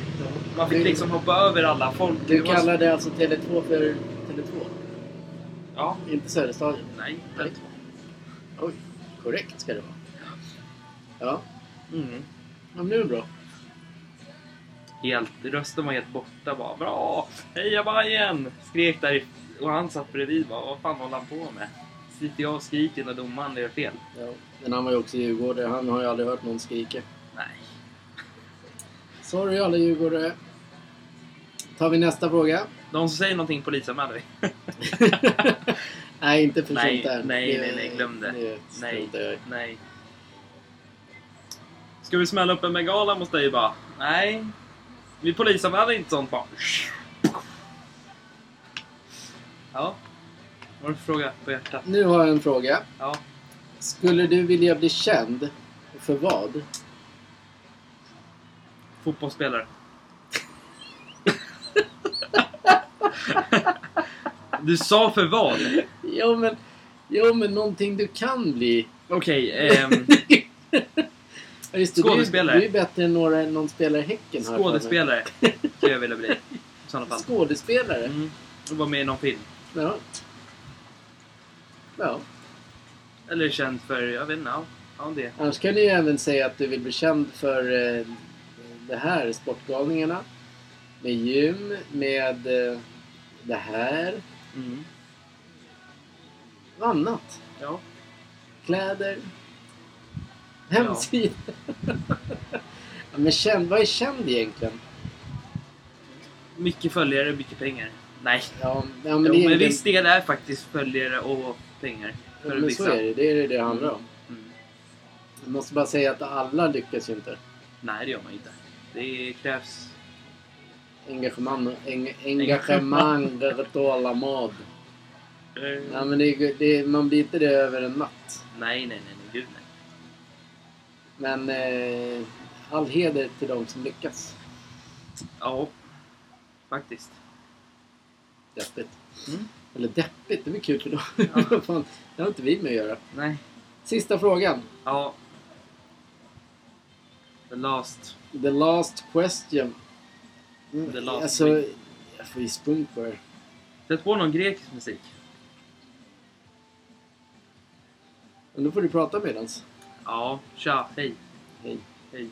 B: Man fick
A: Du-
B: liksom hoppa över alla folk. Det
A: Du
B: var-
A: kallade alltså Tele2 för Tele2?
B: Ja.
A: Inte Söderstadion?
B: Nej.
A: Nej. Oj, korrekt ska det vara. Ja,
B: Mm.
A: ja men det är bra.
B: Helt, rösten var helt borta bara. Bra! Heja Bajen! Skrek där i- och han satt bredvid bara. Vad fan håller han på med? Sitter jag och skriker när domaren gör fel?
A: Ja. Men han var ju också djurgårdare. Han har ju aldrig hört någon skrika.
B: Nej.
A: Sorry alla djurgårdare. Tar vi nästa fråga?
B: De som säger någonting polisanmäler vi.
A: nej, inte för
B: Nej,
A: sånt där.
B: nej, nej, nej, glöm det. Nej.
A: nej. Jag.
B: Nej. Ska vi smälla upp en megala mot dig bara? Nej. Vi polisanmäler inte sånt bara. Ja. Vad har du för fråga på hjärtat?
A: Nu har jag en fråga.
B: Ja.
A: Skulle du vilja bli känd? Och För vad?
B: Fotbollsspelare. du sa för vad?
A: Jo, men, jo, men någonting du kan bli.
B: Okej, ehm,
A: Ja, Just det, du är ju-
B: Skådespelare.
A: Du är ju bättre än några, någon spelare i Häcken. har jag för mig.
B: skådespelare skulle jag vilja bli. I sådana fall.
A: Skådespelare?
B: Mm. Och vara med i någon film.
A: Ja. Ja.
B: Eller känd för, jag vet inte, ja, ja det.
A: Annars kan du ju även säga att du vill bli känd för eh, det här, Sportgalningarna. Med gym, med eh, det här
B: Mm.
A: och annat.
B: Ja.
A: Kläder. Hemsida. ja, men känd, vad är känd egentligen?
B: Mycket följare, mycket pengar. Nej.
A: Ja, ja,
B: Men,
A: men, det
B: jo,
A: är
B: men
A: det,
B: viss del är faktiskt följare och pengar. För
A: men så
B: vissa.
A: Mm. är det. Det är det det handlar om.
B: Mm.
A: Jag måste bara säga att alla lyckas ju inte.
B: Nej, det gör man inte. Det krävs...
A: Engagemang, eng, engagemang, tålamod.
B: eh,
A: Ja, men det, det, man blir inte det över en natt.
B: Nej, nej, nej, nej, gud nej.
A: Men eh, all heder till de som lyckas.
B: Ja, faktiskt.
A: Deppigt.
B: Mm.
A: Eller deppigt, det blir kul för dem.
B: Ja.
A: Fan, det har inte vi med att göra.
B: Nej,
A: Sista frågan.
B: ja. The last.
A: The last question. Mm,
B: The last
A: alltså,
B: week.
A: jag får ju spunk på det.
B: Sätt på någon grekisk musik.
A: Men då får du prata medans.
B: Ja, tja, hej,
A: Hej.
B: hej.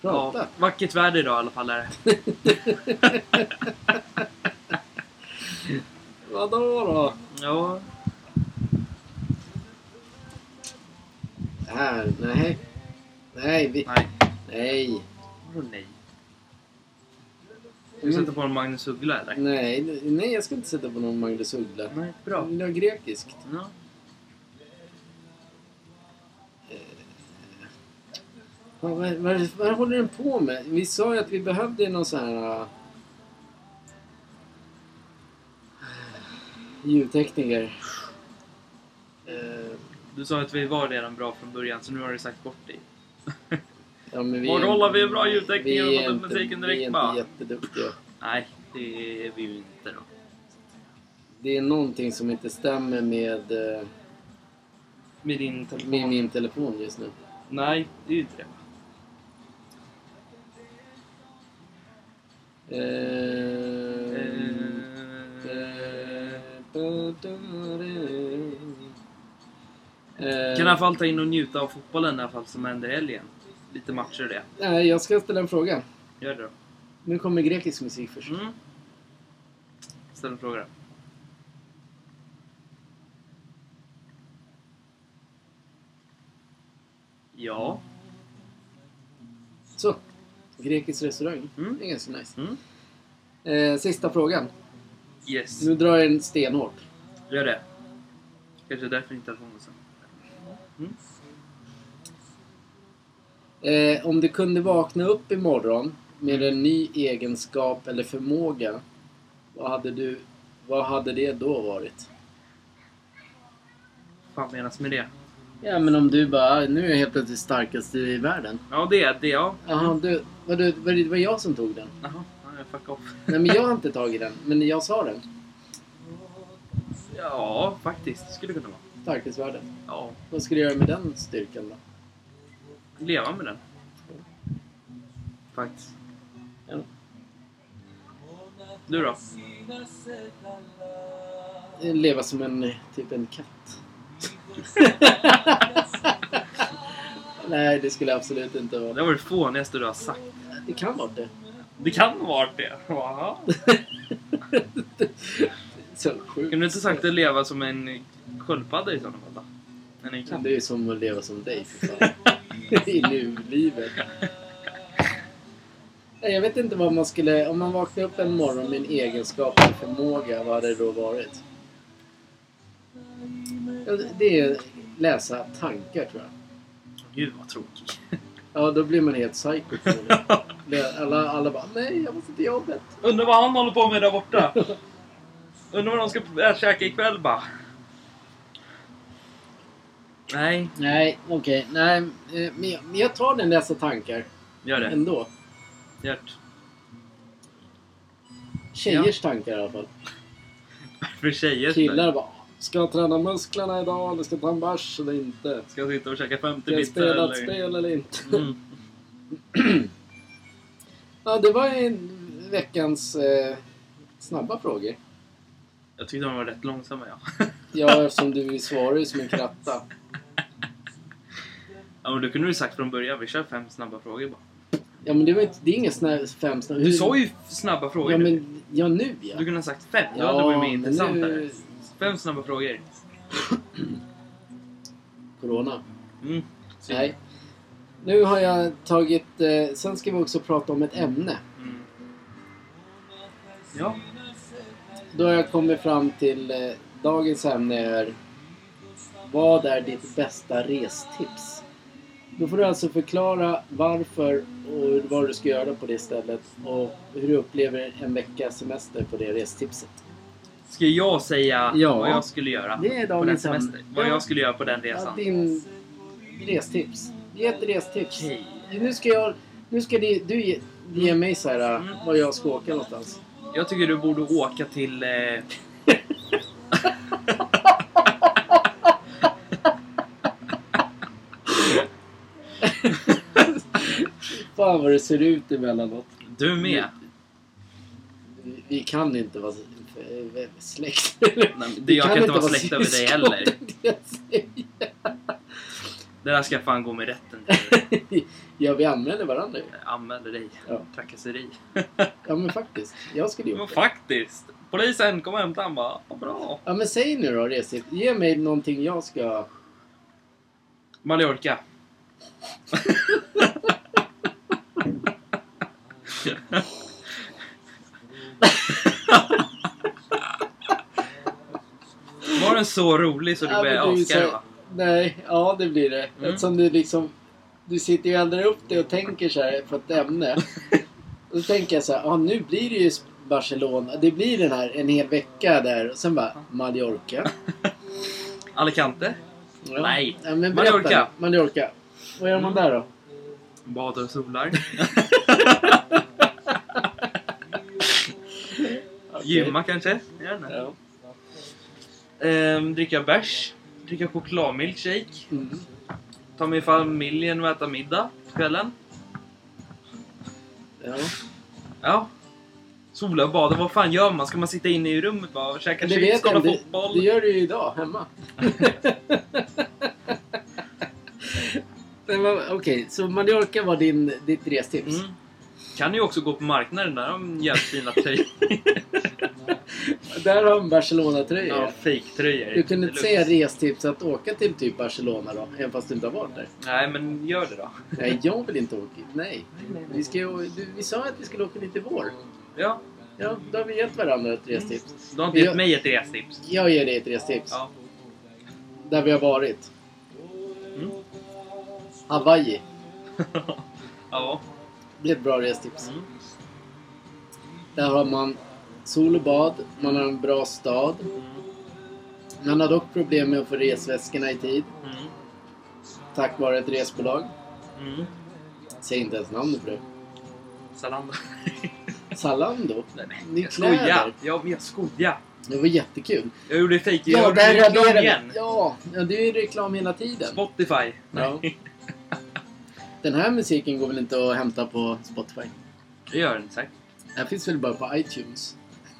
A: Prata.
B: Ja, vackert väder idag i alla fall är det.
A: Vadå då?
B: Ja,
A: Här, nej. Nej, vi...
B: nej.
A: Nej.
B: Vadå nej? Ska vi
A: Men,
B: sätta på en Magnus Uggla eller?
A: nej, nej, jag ska inte sätta på någon Magnus Uggla.
B: Nej, bra.
A: Vill du ha grekiskt?
B: Ja.
A: Vad, vad, vad, vad håller den på med? Vi sa ju att vi behövde någon sån här... Uh, ljudtekniker. Eh,
B: Du sa att vi var redan bra från början, så nu har du sagt bort dig.
A: ja, men
B: Vår
A: är-
B: roll har vi bra ljudtekniker
A: vi
B: och
A: är
B: fått upp
A: inte-
B: musiken direkt,
A: Vi är
B: va?
A: inte jätteduktiga.
B: Nej, det är vi ju inte då.
A: Det är någonting som inte stämmer med, eh,
B: Med din telefon?
A: med min telefon just nu.
B: Nej, det är ju inte det.
A: Eh, eh,
B: Kan i alla fall ta in och njuta av fotbollen i alla fall som händer i helgen. Lite matcher och det.
A: Nej, jag ska ställa en fråga.
B: Gör det då.
A: Nu kommer grekisk musik först.
B: Mm. Ställ en fråga då. Ja.
A: Så. Grekisk restaurang.
B: Mm.
A: Det är ganska nice.
B: Mm.
A: Eh, sista frågan.
B: Yes.
A: Nu drar jag den stenhårt.
B: Gör det. Kanske därför inte telefonen sen. Mm.
A: Eh, om du kunde vakna upp imorgon med en ny egenskap eller förmåga. Vad hade, du, vad hade det då varit?
B: fan menas med det?
A: Ja, men om du bara, nu är jag helt plötsligt starkast i världen. Mm.
B: Ja, det är det. Ja.
A: Jaha, du, var, det, var det var jag som tog den?
B: Jaha, ja, fuck off.
A: Nej, men jag har inte tagit den, men jag sa den.
B: Ja, faktiskt. Det skulle kunna vara.
A: Starkast i världen.
B: Ja,
A: Vad skulle jag göra med den styrkan då?
B: leva med den. Faktiskt.
A: Ja.
B: Du då?
A: Eh, Leva som en, eh, typ en katt. Nej, det skulle jag absolut inte vara.
B: Det var det fånigaste du har sagt.
A: Det kan vara det.
B: Det kan ha varit det. Jaha.
A: Så sjukt.
B: Kunde du inte sagt att leva som en sköldpadda i sådana fall då? Men en katt.
A: Det är ju som att leva som dig för fan. I nulivet. Nej, jag vet inte vad man skulle... Om man vaknade upp en morgon med en egenskap eller förmåga, vad hade det då varit? Ja, Det är läsa tankar, tror jag.
B: Gud vad tråkig.
A: Ja, då blir man helt psycho. Alla, alla bara “Nej, jag måste till jobbet”.
B: Undrar vad han håller på med där borta. Undrar vad de ska äh, käka ikväll bara. Nej,
A: Nej, okej. Nej, eh, men jag, men jag tar den läsa tankar
B: gör det.
A: ändå.
B: Gör det.
A: Tjejers tankar i alla fall.
B: För tjejer.
A: Killar bara Ska jag träna musklerna idag eller ska jag ta en bärs eller inte?
B: Ska jag sitta och käka 50
A: Ska jag
B: bitar
A: spela ett
B: eller?
A: spel eller inte?
B: Mm.
A: Ja, det var en veckans eh, snabba frågor.
B: Jag tyckte de var rätt långsamma ja.
A: Ja, eftersom du svarar ju som en kratta.
B: Ja men då kunde du sagt från början, vi kör fem snabba frågor
A: Mm.
B: bara.
A: Ja, men det, var inte, det är inga snä, fem snabba...
B: Du sa ju snabba frågor.
A: Ja,
B: nu.
A: men... Ja, nu ja.
B: Du kunde ha sagt fem, då
A: Ja,
B: hade det varit mer
A: men
B: intressant.
A: nu-
B: här. Fem snabba frågor.
A: Corona.
B: Mm. Synd.
A: Nej. Nu har jag tagit... Eh, sen ska vi också prata om ett ämne.
B: Mm. Ja.
A: Då har jag kommit fram till... Eh, dagens ämne är... Vad är ditt bästa restips? Då får du alltså förklara varför och vad du ska göra på det stället och hur du upplever en veckas semester på det restipset.
B: Ska jag säga
A: Ja.
B: vad jag skulle göra
A: Det är
B: på den
A: dagens ämne.
B: semester? Vad
A: Ja.
B: jag skulle göra på den
A: Ja,
B: resan?
A: din restips. Ge ett restips.
B: Okej.
A: Nu ska, jag, nu ska di- du ge, ge mig så här,
B: Mm.
A: var jag ska åka någonstans.
B: Jag tycker du borde åka till... Eh...
A: Fan vad det ser ut emellanåt.
B: Du med!
A: Vi- Vi kan inte vara s- eh, släkt. eller-
B: Nej, men det,
A: vi
B: jag kan inte vara släkt
A: syskon,
B: över dig heller.
A: det är det jag
B: Det där ska fan gå med rätten till.
A: säger. Ja, vi använder varandra ju.
B: Jag Anmäler dig.
A: Ja.
B: Trakasseri.
A: Ja, men faktiskt. Jag skulle ju
B: Men
A: åka.
B: faktiskt! Polisen kom och hämtade han bara, vad bra!
A: Ja, men säg nu då, restips. Ge mig någonting jag ska...
B: Mallorca. Var den så rolig så du
A: Ja, men
B: började
A: det är ju så-
B: asgarva?
A: Nej, ja det blir det.
B: Mm.
A: Eftersom du liksom... Du sitter ju och eldar upp det och tänker så här på ett ämne. och då tänker jag så här, ja nu blir det ju Barcelona. Det blir den här en hel vecka där och sen bara Mallorca.
B: Alicante?
A: Ja.
B: Nej.
A: Ja, men berätta.
B: Mallorca. Mm.
A: Mallorca. Vad gör man där då?
B: Badar och solar? Gymma kanske? Jag vet inte.
A: Ja.
B: Ehm, dricka bärs? Dricka chokladmilkshake?
A: Mm.
B: Ta med familjen och äta middag på kvällen?
A: Ja.
B: Ja. Sola och bada, vad fan gör man? Ska man sitta inne i rummet bara och käka
A: Men det
B: chips,
A: vet
B: kolla
A: jag, det,
B: fotboll?
A: det gör du ju idag hemma. Men vad- Okej, så Mallorca var din, ditt restips.
B: Mm. Kan ju också gå på marknaden där, de jävligt fina tröjor.
A: Där har vi Barcelona-tröjor.
B: ja, fejktröjor.
A: Du kunde inte
B: Det är
A: säga
B: lugnt.
A: restips att åka till typ Barcelona då, även fast du inte har varit där?
B: Nej, men gör det då.
A: Nej, jag vill inte åka dit. Nej. Vi, ska, ju- du, vi sa att vi skulle åka dit i vår.
B: Ja,
A: Ja, då har vi gett varandra ett restips.
B: du har inte gett
A: Jag-
B: mig ett restips.
A: Jag ger dig ett restips.
B: Ja.
A: Där vi har varit.
B: Mm.
A: Hawaii.
B: ja.
A: Det är ett bra restips.
B: Mm.
A: Där har man sol och bad, man har en bra stad.
B: Mm.
A: Man har dock problem med att få resväskorna i tid.
B: Mm.
A: Tack vare ett resbolag.
B: Mm.
A: Säg inte ens namnet på det.
B: Zalando.
A: Zalando.
B: Nej, nej.
A: Ni
B: Jag skojar.
A: kläder.
B: Ja, men jag skojar.
A: Det var jättekul.
B: Jag gjorde fejk.
A: Ja,
B: Jag
A: där
B: gjorde reklam
A: raderar
B: igen.
A: vi. Ja, ja, det är ju reklam hela tiden.
B: Spotify.
A: Ja. Den här musiken går väl inte att hämta på Spotify?
B: Det gör den säkert.
A: Den här finns väl bara på iTunes?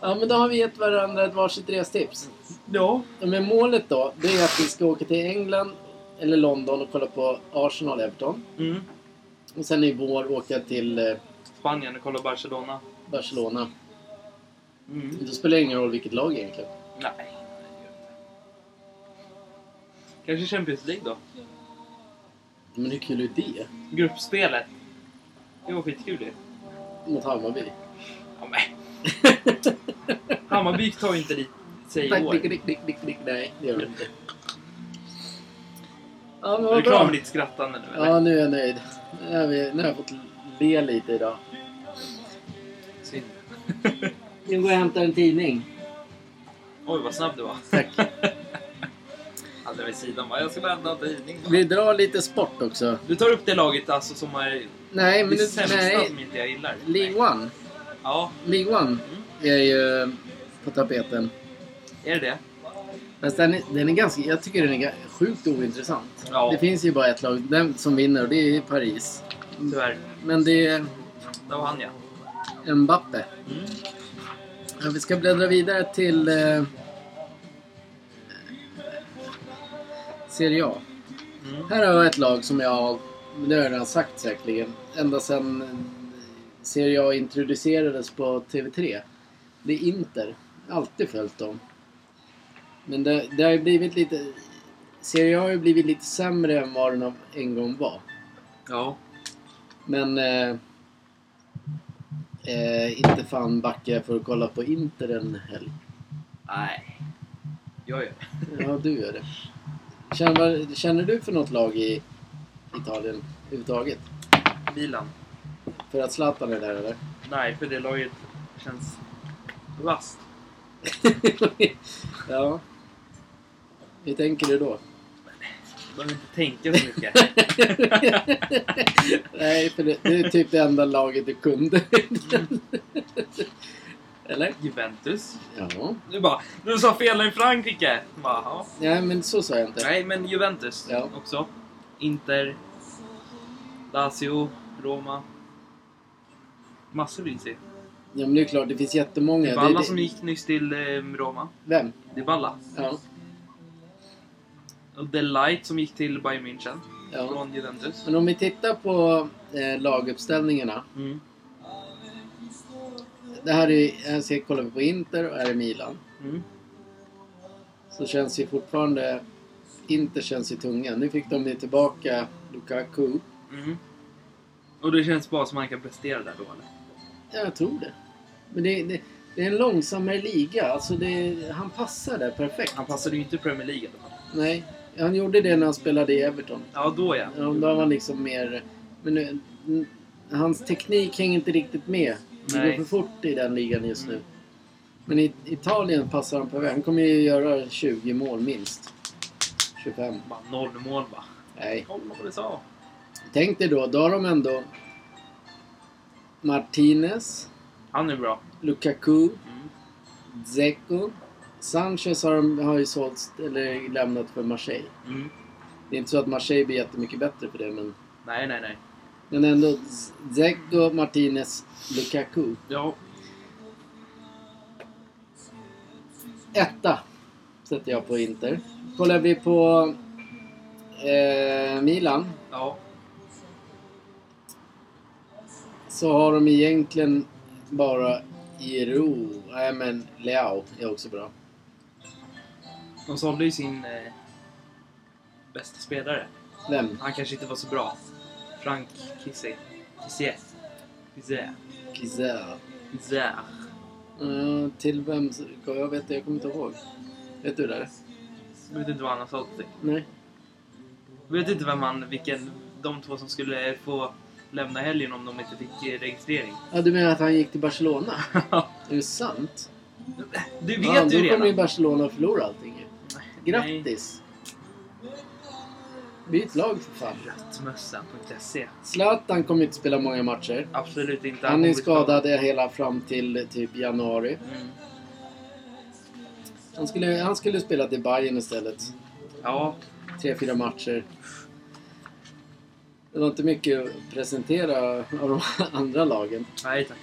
A: ja, men då har vi gett varandra ett varsitt restips.
B: Ja.
A: Ja, Men målet då, det är att vi ska åka till England eller London och kolla på Arsenal-Everton.
B: Mm.
A: Och sen i vår åka till eh,
B: Spanien och kolla Barcelona.
A: Barcelona.
B: Mm.
A: Då spelar det ingen roll vilket lag egentligen.
B: Nej.
A: Mm.
B: Kanske Champions League då?
A: Men hur kul är det?
B: Gruppspelet. Det var skitkul det.
A: Mot Hammarby.
B: Ja, men. Hammarby tar ju inte dit sig i
A: Tack,
B: år.
A: dick, dick, dick, dick, dick. Nej, det gör det inte. Ja, men
B: Är du
A: vad
B: klar
A: bra.
B: med ditt skrattande nu eller?
A: Ja, nu är jag nöjd. Nu har, vi, nu har jag fått le lite idag.
B: Synd.
A: Nu går jag och hämtar en tidning.
B: Oj vad snabb du var.
A: Tack.
B: Hade vid sidan bara, jag ska bara hämta en tidning.
A: Vi drar lite sport också.
B: Du tar upp det laget alltså som är
A: Nej, men
B: det
A: det,
B: sämsta
A: nej.
B: som inte jag gillar. Nej.
A: League One.
B: Ja,
A: League One
B: Mm.
A: är ju på tapeten.
B: är det det?
A: Fast den är, den är ganska, jag tycker den är ga- sjukt ointressant.
B: Ja.
A: Det finns ju bara ett lag den som vinner och det är Paris.
B: Tyvärr.
A: Men det är
B: Där var han ja.
A: Mbappe.
B: Mm.
A: Ja, vi ska bläddra vidare till eh, Serie A.
B: Mm.
A: Här har jag ett lag som jag, det har jag redan sagt säkerligen, ända sedan eh, Serie A introducerades på TV3. Det är Inter. Alltid följt dem. Men det, det har ju blivit lite... Serie A har ju blivit lite sämre än vad den en gång var.
B: Ja.
A: Men... Eh, eh, inte fan backar jag för att kolla på Inter en helg.
B: Nej. Jag gör det.
A: Ja, du gör det. Känner, känner du för något lag i Italien överhuvudtaget?
B: Milan.
A: För att Zlatan är där eller?
B: Nej, för det laget känns vasst.
A: ja. Hur tänker du då?
B: Behöver inte tänka så mycket.
A: Nej, för det, det är typ det enda laget du kunde. eller?
B: Juventus.
A: Ja.
B: Du bara, du sa fel i Frankrike! Bara, ja.
A: Nej, men så sa jag inte.
B: Nej, men Juventus
A: Ja.
B: också. Inter. Lazio. Roma. Massor vill se.
A: Ja, men det är klart, det finns jättemånga.
B: Det var alla
A: det,
B: som gick nyss till eh, Roma.
A: Vem?
B: Det var alla.
A: Ja.
B: Och The Light som gick till Bayern München.
A: ja.
B: Från Juventus.
A: Men om vi tittar på eh, laguppställningarna.
B: Mm.
A: Det här är, här ser, kollar vi på Inter och här är Milan.
B: Mm.
A: Så känns ju fortfarande... Inter känns i tungan. Nu fick de ju tillbaka Lukaku.
B: Mm. Och det känns bara som att han kan prestera där då eller?
A: Ja, jag tror det. Men det, det, det är en långsammare liga. Alltså det, han passar där perfekt.
B: Han passade ju inte i Premier League i alla fall.
A: Nej, han gjorde det när han spelade i Everton.
B: Ja, då ja.
A: Ja, Då var han liksom mer... Men nu, n- hans teknik hänger inte riktigt med. Det
B: Nej.
A: går för fort i den ligan just nu.
B: Mm.
A: Men i Italien passar han på väg. Han kommer ju göra 20 mål minst. 25.
B: Bara noll mål va.
A: Nej.
B: Kolla vad du sa.
A: Tänk dig då, då har de ändå Martinez,
B: Han är bra.
A: Lukaku,
B: Mm.
A: Dzeko. Sanchez har, de, har ju sålts, eller lämnat för Marseille.
B: Mm.
A: Det är inte så att Marseille blir jättemycket bättre för det, men...
B: Nej, nej, nej.
A: Men ändå Dzeko, Martinez, Lukaku.
B: Ja,
A: Etta sätter jag på Inter. Kollar vi på eh, Milan
B: ja.
A: så har de egentligen bara Giroud. Nej men Leao är också bra.
B: De sålde ju sin eh, bästa spelare.
A: Vem?
B: Han kanske inte var så bra. Frank Kissé. Kissé. Kissé.
A: Kizär.
B: Kissé.
A: Eh, till vem? så- Jag vet inte, jag kommer inte ihåg. Vet du det?
B: Jag vet inte vad han har sålt till.
A: Nej.
B: Jag vet inte vem han, vilken, de två som skulle få lämna helgen om de inte fick eh, registrering.
A: Ja, du menar att han gick till Barcelona? Är det sant?
B: Du
A: ja,
B: vet
A: då
B: ju
A: kommer ju
B: redan.
A: Barcelona att förlora allting ju.
B: Nej.
A: Grattis! Byt lag för fan.
B: Röttmössa.se.
A: Zlatan kommer inte spela många matcher.
B: Absolut inte.
A: Han är
B: borde skada.
A: skadad hela fram till typ januari.
B: Mm.
A: Han skulle, han skulle spela till Bayern istället.
B: Ja,
A: Tre, fyra matcher. Det var inte mycket att presentera av de andra lagen.
B: nej tack.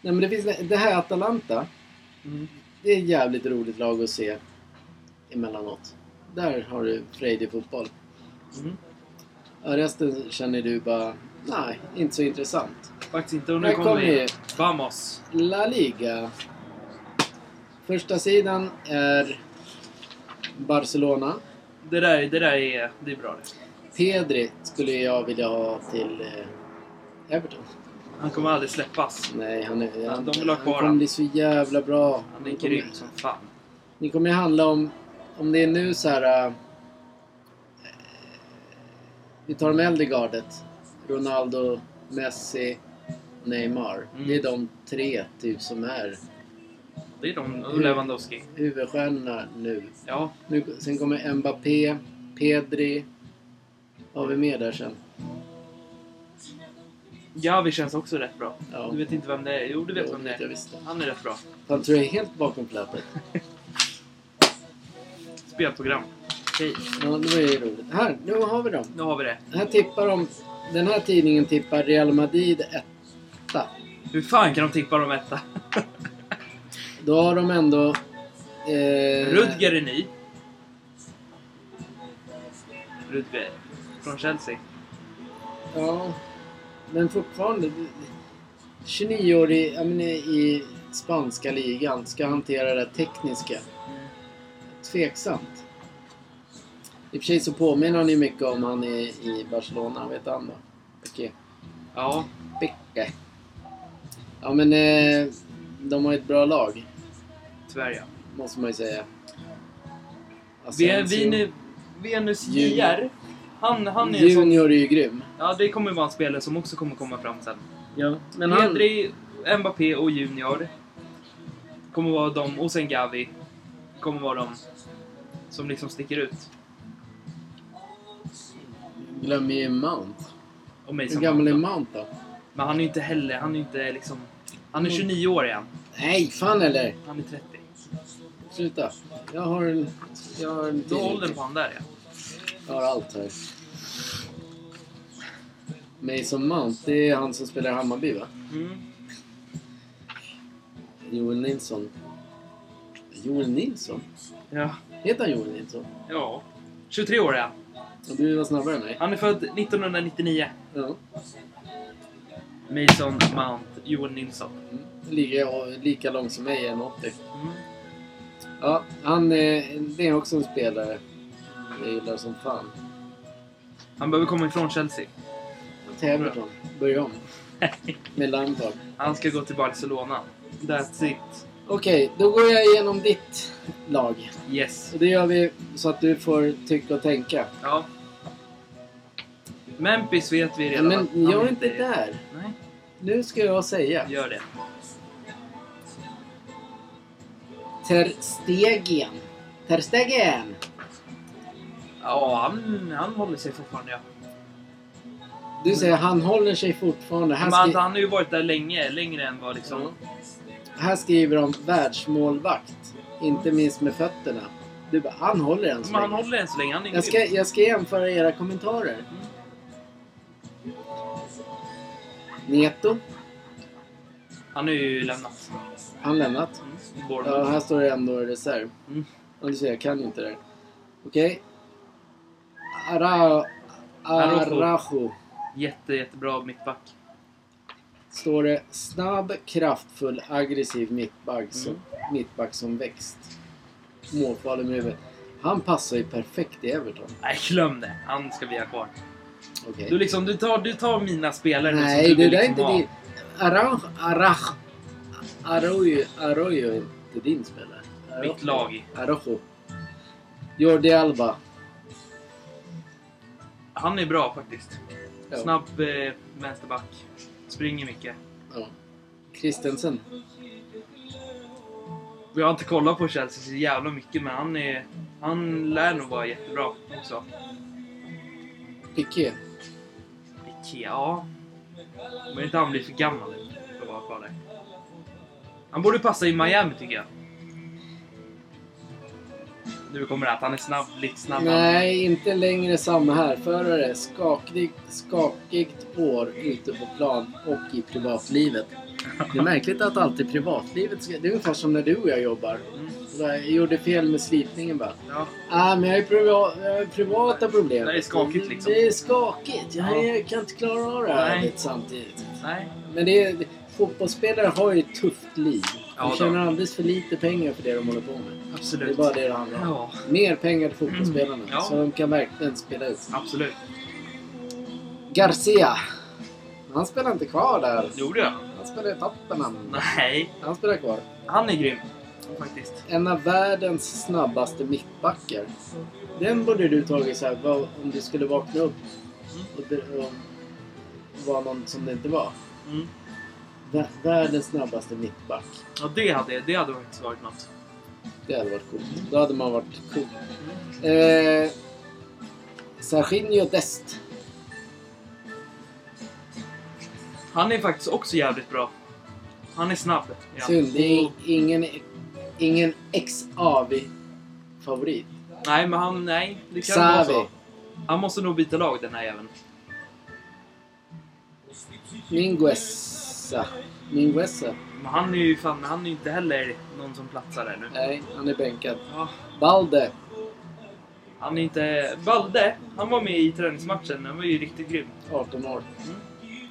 A: Nej men det finns det här Atalanta.
B: Mm.
A: Det är ett jävligt roligt lag att se emellanåt. Där har du frejdig fotboll.
B: Mm.
A: Ja, resten känner du bara, nej, inte så intressant.
B: Faktiskt inte. Och
A: Här
B: nu kommer
A: kommer
B: vi.
A: ju-
B: Vamos!
A: La Liga. Första sidan är Barcelona.
B: Det där, det där är, det är bra det.
A: Pedri skulle jag vilja ha till eh, Everton.
B: Han kommer aldrig släppas.
A: Nej, han, är, han,
B: de vill ha kvar
A: han kommer
B: han.
A: bli så jävla bra.
B: Han
A: Ni
B: är
A: kommer-
B: grym som fan.
A: Ni kommer ju handla om... Om det är nu så här... eh, vi tar de äldre gardet. Ronaldo, Messi, Neymar.
B: Mm.
A: Det är de tre typ som är
B: Det är de och Lewandowski.
A: huvudstjärnorna nu.
B: Ja,
A: nu. Sen kommer Mbappé, Pedri. Vad har vi mer där sen?
B: Javi känns också rätt bra.
A: Ja.
B: Du vet inte vem det är? Jo, du vet
A: Jo,
B: vem
A: det
B: det
A: vet jag
B: är.
A: visst.
B: Han är rätt bra.
A: Fan, tror jag är helt bakom flötet.
B: Spelprogram. Okej,
A: Ja, det var ju roligt. Här, nu har vi dem.
B: nu har vi det.
A: Här tippar de... Den här tidningen tippar Real Madrid etta.
B: Hur fan kan de tippa de etta?
A: Då har de ändå... Eh,
B: Rudger är ny. Rudger. Från Chelsea.
A: Ja. Men fortfarande... 29-årig ja, men i, i spanska ligan ska hantera det tekniska. Tveksamt. I och för sig så påminner han ju mycket om han i, i Barcelona. Vet han då? Piqué.
B: Ja,
A: Piqué. Ja men eh, de har ett bra lag.
B: Tyvärr ja.
A: måste man ju säga.
B: Vi är,
A: Asensio.
B: vi, Venus
A: Junior.
B: JR. Han, han är en sån...
A: Junior är ju grym.
B: Ja, det kommer vara en spelare som också kommer komma fram sen.
A: Ja, men han...
B: Pedri, Mbappé och Junior kommer vara de, och sen Gavi kommer vara de som liksom sticker ut.
A: glömmer ju Mount.
B: Och mig
A: Hur
B: som
A: gammal är Mount då?
B: Men han är ju inte heller, han är ju inte liksom... Han
A: Mm.
B: är 29 år igen.
A: Nej, fan eller!
B: Han är 30.
A: Sluta. Jag har en... Jag har en
B: Då
A: till.
B: åldern på han där ja.
A: Jag har allt här. Mason Mount, det är han som spelar i Hammarby va?
B: Mm.
A: Joel Nilsson. Joel Nilsson?
B: Ja.
A: Heter han Joel Nilsson?
B: ja. 23 år ja.
A: Och du var snabbare än mig.
B: Han är född 1999.
A: Ja.
B: Mason Mount, Johan Nilsson.
A: Mm. Lika, lika lång som mig, 1,80.
B: Mm.
A: Ja, han eh, det är också en spelare jag gillar som fan.
B: Han behöver komma ifrån Chelsea.
A: Tävlar Börja om. Med Lampard.
B: Han ska gå till Barcelona. That's it.
A: Okej, då går jag igenom ditt lag.
B: Yes.
A: Och det gör vi så att du får tycka och tänka.
B: Ja. Memphis vet vi
A: Ja,
B: redan. att
A: men
B: han
A: gör inte där.
B: Nej,
A: Nu ska jag säga.
B: gör det.
A: Ter Stegen. Ter Stegen!
B: Ja, han, han håller sig fortfarande ja.
A: Du säger han håller sig fortfarande. Här,
B: Men han,
A: skri-
B: han har ju varit där länge, längre än vad liksom...
A: Ja. här skriver de världsmålvakt. Inte minst med fötterna. Du bara, han håller än så
B: Men han
A: länge.
B: håller än så länge. Han är
A: Jag ska, jag ska jämföra era kommentarer.
B: Mm.
A: Neto,
B: Han har ju lämnat.
A: han lämnat.
B: Mm.
A: Ja,
B: Bournemouth.
A: här står det ändå reserv.
B: Mm.
A: Och du ser, jag kan ju inte det. Okej. Ara, Arajo.
B: Jätte, jättebra mittback.
A: Står det snabb, kraftfull, aggressiv mittback som,
B: Mm.
A: mittback som växt. Målfarlig med huvudet. Han passar ju perfekt i Everton.
B: Nej, glöm det. Han ska vi ha kvar.
A: Okej.
B: Du, liksom, du, tar, du tar mina spelare nu
A: Nej,
B: som du
A: det
B: vill
A: där är
B: liksom
A: inte
B: ha.
A: din... Arach... Arach... Arroyo... Arroyo är inte din spelare. Araujo.
B: Mitt lag.
A: Araujo. Jordi Alba.
B: Han är bra faktiskt.
A: Ja.
B: Snabb eh, vänsterback. Springer mycket.
A: Ja. Christensen.
B: Vi har inte kollat på Chelsea så jävla mycket men han är... Han lär nog vara jättebra också.
A: Piqué.
B: Ikea, ja. Men inte han blir för gammal för att vara kvar där. Han borde passa i Miami tycker jag. Nu kommer det att han är snabb, lite snabb.
A: Nej, inte längre samma här. Förare. Skakigt, skakigt år ute på plan och i privatlivet. Det är märkligt att alltid privatlivet ska... Det är ungefär som när du och jag jobbar.
B: Mm.
A: Så där, Jag gjorde fel med slipningen bara.
B: Ja.
A: Nej, men jag har ju priva- jag har ju privata problem.
B: Det är skakigt, liksom.
A: Det är skakigt. Jag,
B: Ja.
A: jag kan inte klara av det här
B: Nej.
A: lite samtidigt.
B: Nej.
A: Men det är, fotbollsspelare har ju ett tufft liv.
B: Ja,
A: de
B: då.
A: tjänar alldeles för lite pengar för det de håller på med. Det är
B: Absolut.
A: bara det det handlar om.
B: Ja,
A: Mer pengar till fotbollsspelarna.
B: Mm. Ja.
A: Så de kan verkligen spela ut.
B: absolut.
A: Garcia. Han spelar inte kvar där.
B: Gjorde jag?
A: Han spelar i Tottenham.
B: Nej.
A: Han spelar kvar.
B: Han är grym. Faktiskt.
A: En av världens snabbaste mittbackar. Den borde du tagit så här, vad, om du skulle vakna upp och, dr- och vara någon som det inte var.
B: Mm.
A: Vä- Världens snabbaste mittback.
B: Ja, det hade, det hade faktiskt varit något.
A: Det hade varit coolt. Då hade man varit cool.
B: Mm.
A: Eh, Serginho Dest.
B: Han är faktiskt också jävligt bra. Han är snabb. Ja.
A: Synd, det är ingen, ingen ex-AV-favorit.
B: Nej, men han... Nej. Det kan vara
A: Xavi.
B: så. Han måste nog byta lag den här jäveln.
A: Minguesa. Minguesa.
B: Men han är ju fan, han är ju inte heller någon som platsar där nu.
A: Nej, han är bänkad.
B: Ja,
A: Balde.
B: han är inte... Balde, han var med i träningsmatchen. Han var ju riktigt grym.
A: 18 år.
B: Mm.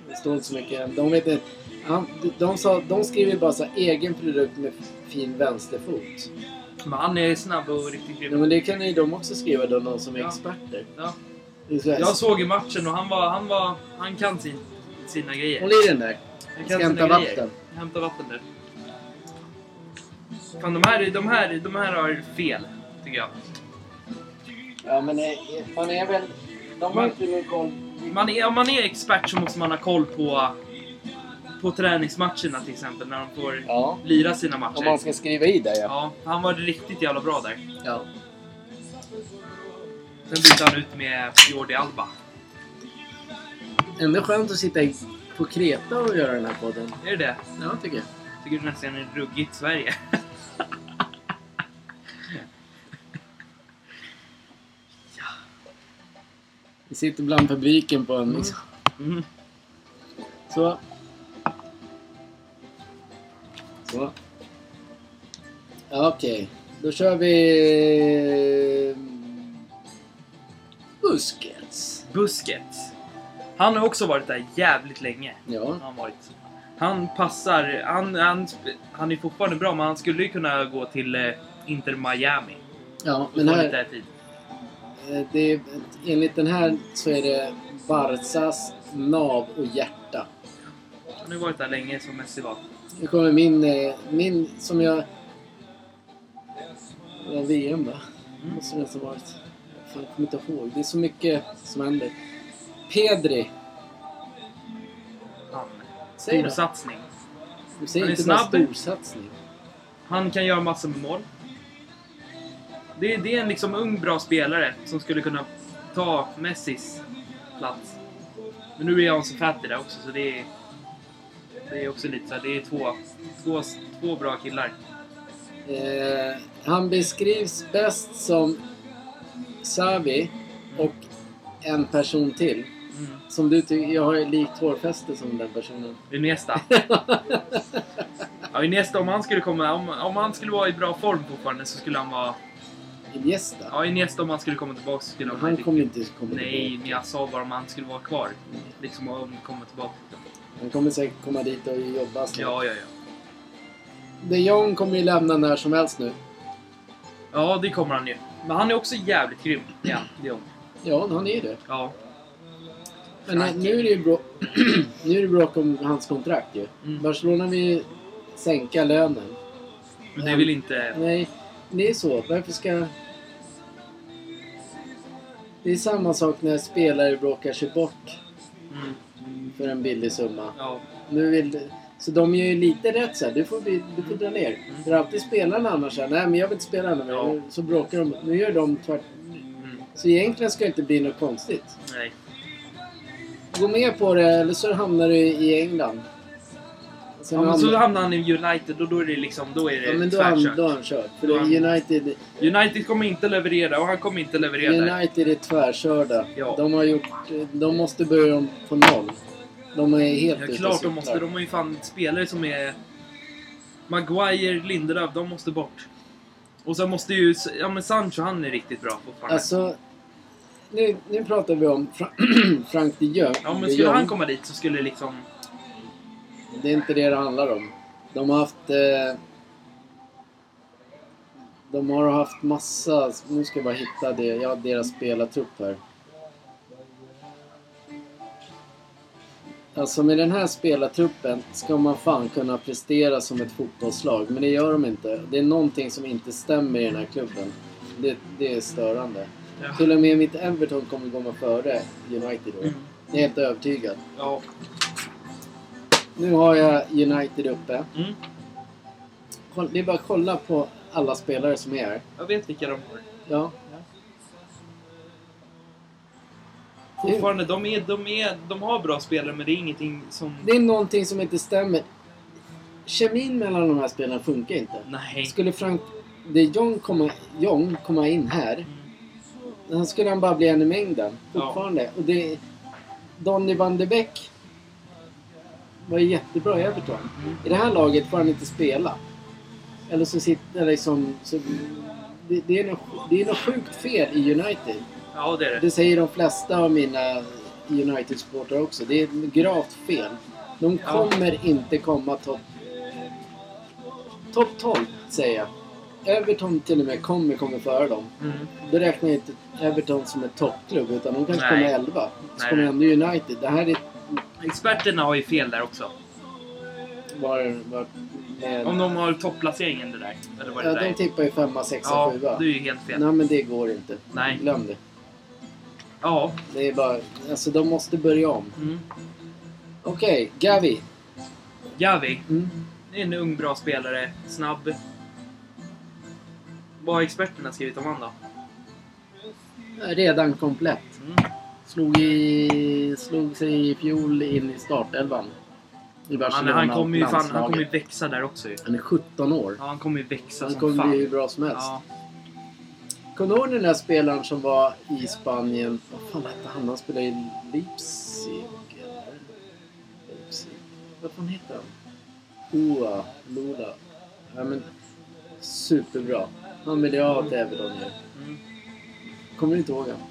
A: Det står inte så mycket. De, vet inte, han, de, de, sa, de skriver bara så här, egen produkt med fin vänsterfot.
B: Men han är snabb och riktigt
A: Ja,
B: grym.
A: men det kan ju de också skriva, då, de som är
B: Ja.
A: experter.
B: Ja.
A: Det är så här,
B: Jag såg i matchen och han var... Han, var, han kan sin, sina grejer.
A: Håll i den där.
B: Han
A: Ska
B: kan
A: hämta
B: sina grejer.
A: vatten.
B: Hämta vatten nu. Fan, de här, de, här, de här har fel, tycker jag.
A: Ja men eh, fan är väl... De har inte någon koll.
B: Man är, om man är expert så måste man ha koll på, på träningsmatcherna till exempel, när de får
A: Ja.
B: lira sina matcher.
A: Om man ska skriva i det ja.
B: Ja, han var riktigt jävla bra där.
A: ja.
B: Sen bytte han ut med Jordi Alba.
A: Ändå skönt att sitta i- på Kreta och göra den här podden.
B: Är det det?
A: Ja, tycker jag.
B: Tycker du nästan är ruggigt Sverige?
A: Vi sitter bland publiken på en... liksom.
B: Mm.
A: Så. Så. Ja, Okej, då kör vi... Busquets.
B: Busquets. Han har också varit där jävligt länge.
A: Ja.
B: har Han, varit. han passar... Han, han, sp- han är fortfarande bra, men han skulle ju kunna gå till eh, Inter Miami.
A: ja,
B: Och
A: men
B: få
A: här...
B: lite tid.
A: Eh, Det är, enligt den här så är det Barzas nav och hjärta.
B: Han har ju varit där länge som Messi var.
A: Nu kommer min, eh, min som jag... Det var VM va?
B: Mm.
A: Måste det nästan varit. Fan, jag kommer inte ihåg. Det är så mycket som händer. Pedri.
B: Han.
A: Säg då.
B: Storsatsning.
A: Du säger
B: Han är
A: inte bara
B: snabb.
A: storsatsning.
B: Han kan göra massor med mål. Det, det är en liksom ung, bra spelare som skulle kunna ta Messis plats. Men nu är Ansu Fati där också, så det är... Det är också lite så här, det är två, två, två bra killar.
A: Eh, han beskrivs bäst som Xavi och en person till.
B: Mm.
A: Som du tycker, jag har ju likt hårfäste som den personen.
B: Iniesta. ja, Iniesta, om han skulle komma... Om, om han skulle vara i bra form fortfarande så skulle han vara...
A: Iniesta.
B: Ja, Iniesta om han skulle komma tillbaka så skulle han vara...
A: Han kommer inte komma
B: Nej,
A: dit.
B: men jag sa bara om han skulle vara kvar. Liksom om han kommer tillbaka.
A: Han kommer säkert komma dit och jobba snart.
B: Ja, ja, ja.
A: De Jong kommer ju lämna när som helst nu.
B: Ja, det kommer han ju. Men han är också jävligt grym. Ja, det är hon.
A: Ja, han är ju det.
B: Ja.
A: Men nej, nu är det ju bråk, nu är det bråk om hans kontrakt ju.
B: Mm.
A: Barcelona vill ju sänka lönen.
B: Men det vill inte...
A: Nej, det är så. Varför ska... Det är samma sak när spelare bråkar sig bort
B: Mm.
A: för en billig summa.
B: Ja.
A: Nu vill... Så de gör ju lite rätt så här. Du får, bli- du får dra ner.
B: Mm.
A: För alltid spelarna annars så här, nej men jag vill inte spela nu.
B: Ja.
A: Så bråkar de. Nu gör de tvärt...
B: Mm.
A: Så egentligen ska det inte bli något konstigt.
B: Nej.
A: Gå med på det eller så hamnar du i England. Sen
B: Ja, men så
A: hamnar-
B: hamnar han i United och då är det liksom... Då är det
A: ja, men då,
B: tvärkört.
A: han, då har han kört. För
B: Då
A: det
B: har han-
A: är United,
B: United kommer inte leverera och han kommer inte leverera.
A: United är tvärkörda.
B: Ja.
A: De, har gjort, de måste börja om på noll. De är helt
B: Ja,
A: ute och
B: klart de
A: cyklar.
B: måste. De har ju fan spelare som är... Maguire, Lindelöf, de måste bort. Och sen måste ju... Ja men Sancho, han är riktigt bra fortfarande.
A: Alltså, nu, nu pratar vi om Fra Frank de Jong.
B: ja men
A: de
B: skulle
A: Jong.
B: han komma dit så skulle liksom...
A: Det är inte det det handlar om. De har haft... Eh, de har haft massa... Nu ska jag bara hitta det. Ja, deras spelartrupp här. Alltså med den här spelartruppen ska man fan kunna prestera som ett fotbollslag. Men det gör de inte. Det är någonting som inte stämmer i den här klubben. Det, det är störande.
B: Ja.
A: Till och med mitt Everton kommer komma före United då.
B: Mm.
A: Jag är helt övertygad.
B: Ja.
A: Nu har jag United uppe.
B: Mm.
A: Koll- Det är bara att kolla på alla spelare som är här.
B: Jag vet vilka de har.
A: Ja.
B: Fortfarande, de, är, de, är, de har bra spelare men det är ingenting som...
A: Det är någonting som inte stämmer. Kemin mellan de här spelarna funkar inte.
B: Nej.
A: Skulle Frank de Jong komma, Jong komma in här,
B: Mm.
A: då skulle han bara bli en i mängden.
B: Ja.
A: Fortfarande. Och det... Donny van de Beek var jättebra i Everton.
B: Mm.
A: I det här laget får han inte spela. Eller så sitter liksom... Så, det, det, är något, det är något sjukt fel i United.
B: Ja, det är det.
A: Det säger de flesta av mina United-supportrar också. Det är ett gravt fel. De
B: Ja.
A: kommer inte komma topp... Topp 12, säger jag. Everton till och med kommer, kommer före dem.
B: Mm.
A: Då räknar jag inte Everton som en toppklubb, utan de kanske
B: Nej.
A: kommer 11. Så
B: Nej,
A: kommer
B: nej.
A: ändå United. Det här är...
B: Experterna har ju fel där också.
A: var, var med,
B: Om de har topplaceringen det där. Eller vad det
A: ja,
B: där
A: de
B: är.
A: tippar ju femma, sexa,
B: Ja,
A: sjua.
B: det är ju helt fel.
A: Nej men det går inte.
B: Nej.
A: Glöm det.
B: Ja.
A: Det är bara, alltså de måste börja om.
B: Mm.
A: Okej, Gavi.
B: Gavi.
A: Mm.
B: Det är en ung bra spelare. Snabb. Vad har experterna skrivit om han då?
A: Redan komplett.
B: Mm.
A: Slog, i, slog sig i fjol in i startelvan. I
B: Han,
A: Barcelona
B: han kommer ju
A: och
B: fan, han kommer ju
A: landslaget.
B: växa där också ju.
A: Han är 17 år.
B: Ja, han kommer ju växa
A: Han
B: som
A: kommer bli hur
B: fan.
A: bra som helst.
B: Ja.
A: Kommer du ihåg den där spelaren som var i Spanien? Vad fan hette han? Han spelade i Leipzig, eller? Leipzig. Vad fan hette han? Oa, Lula. Ja, men, superbra. Han ville jag ha till Everton nu.
B: Mm.
A: Kommer du inte ihåg honom?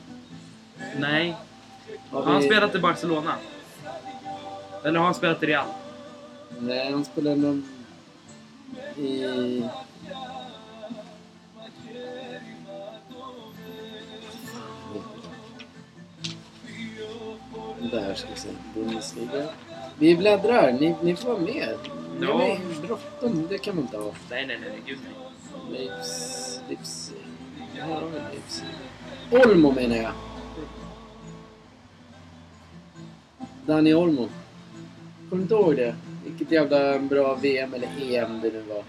B: Nej.
A: Har
B: Har han
A: vi-
B: spelat i Barcelona? Eller har han spelat i Real?
A: Nej, han spelade någon... I... Där ska vi se. Bundesliga. Vi bläddrar. Ni, ni får vara med. Ni
B: Ja.
A: har bråttom. Det kan man inte ha.
B: Nej, nej, nej, nej, gud nej.
A: Leipzig. Leipzig. Här har vi Leipzig. Olmo menar jag. Dani Olmo. Kommer du inte ihåg det? Vilket jävla bra VM eller EM det nu var.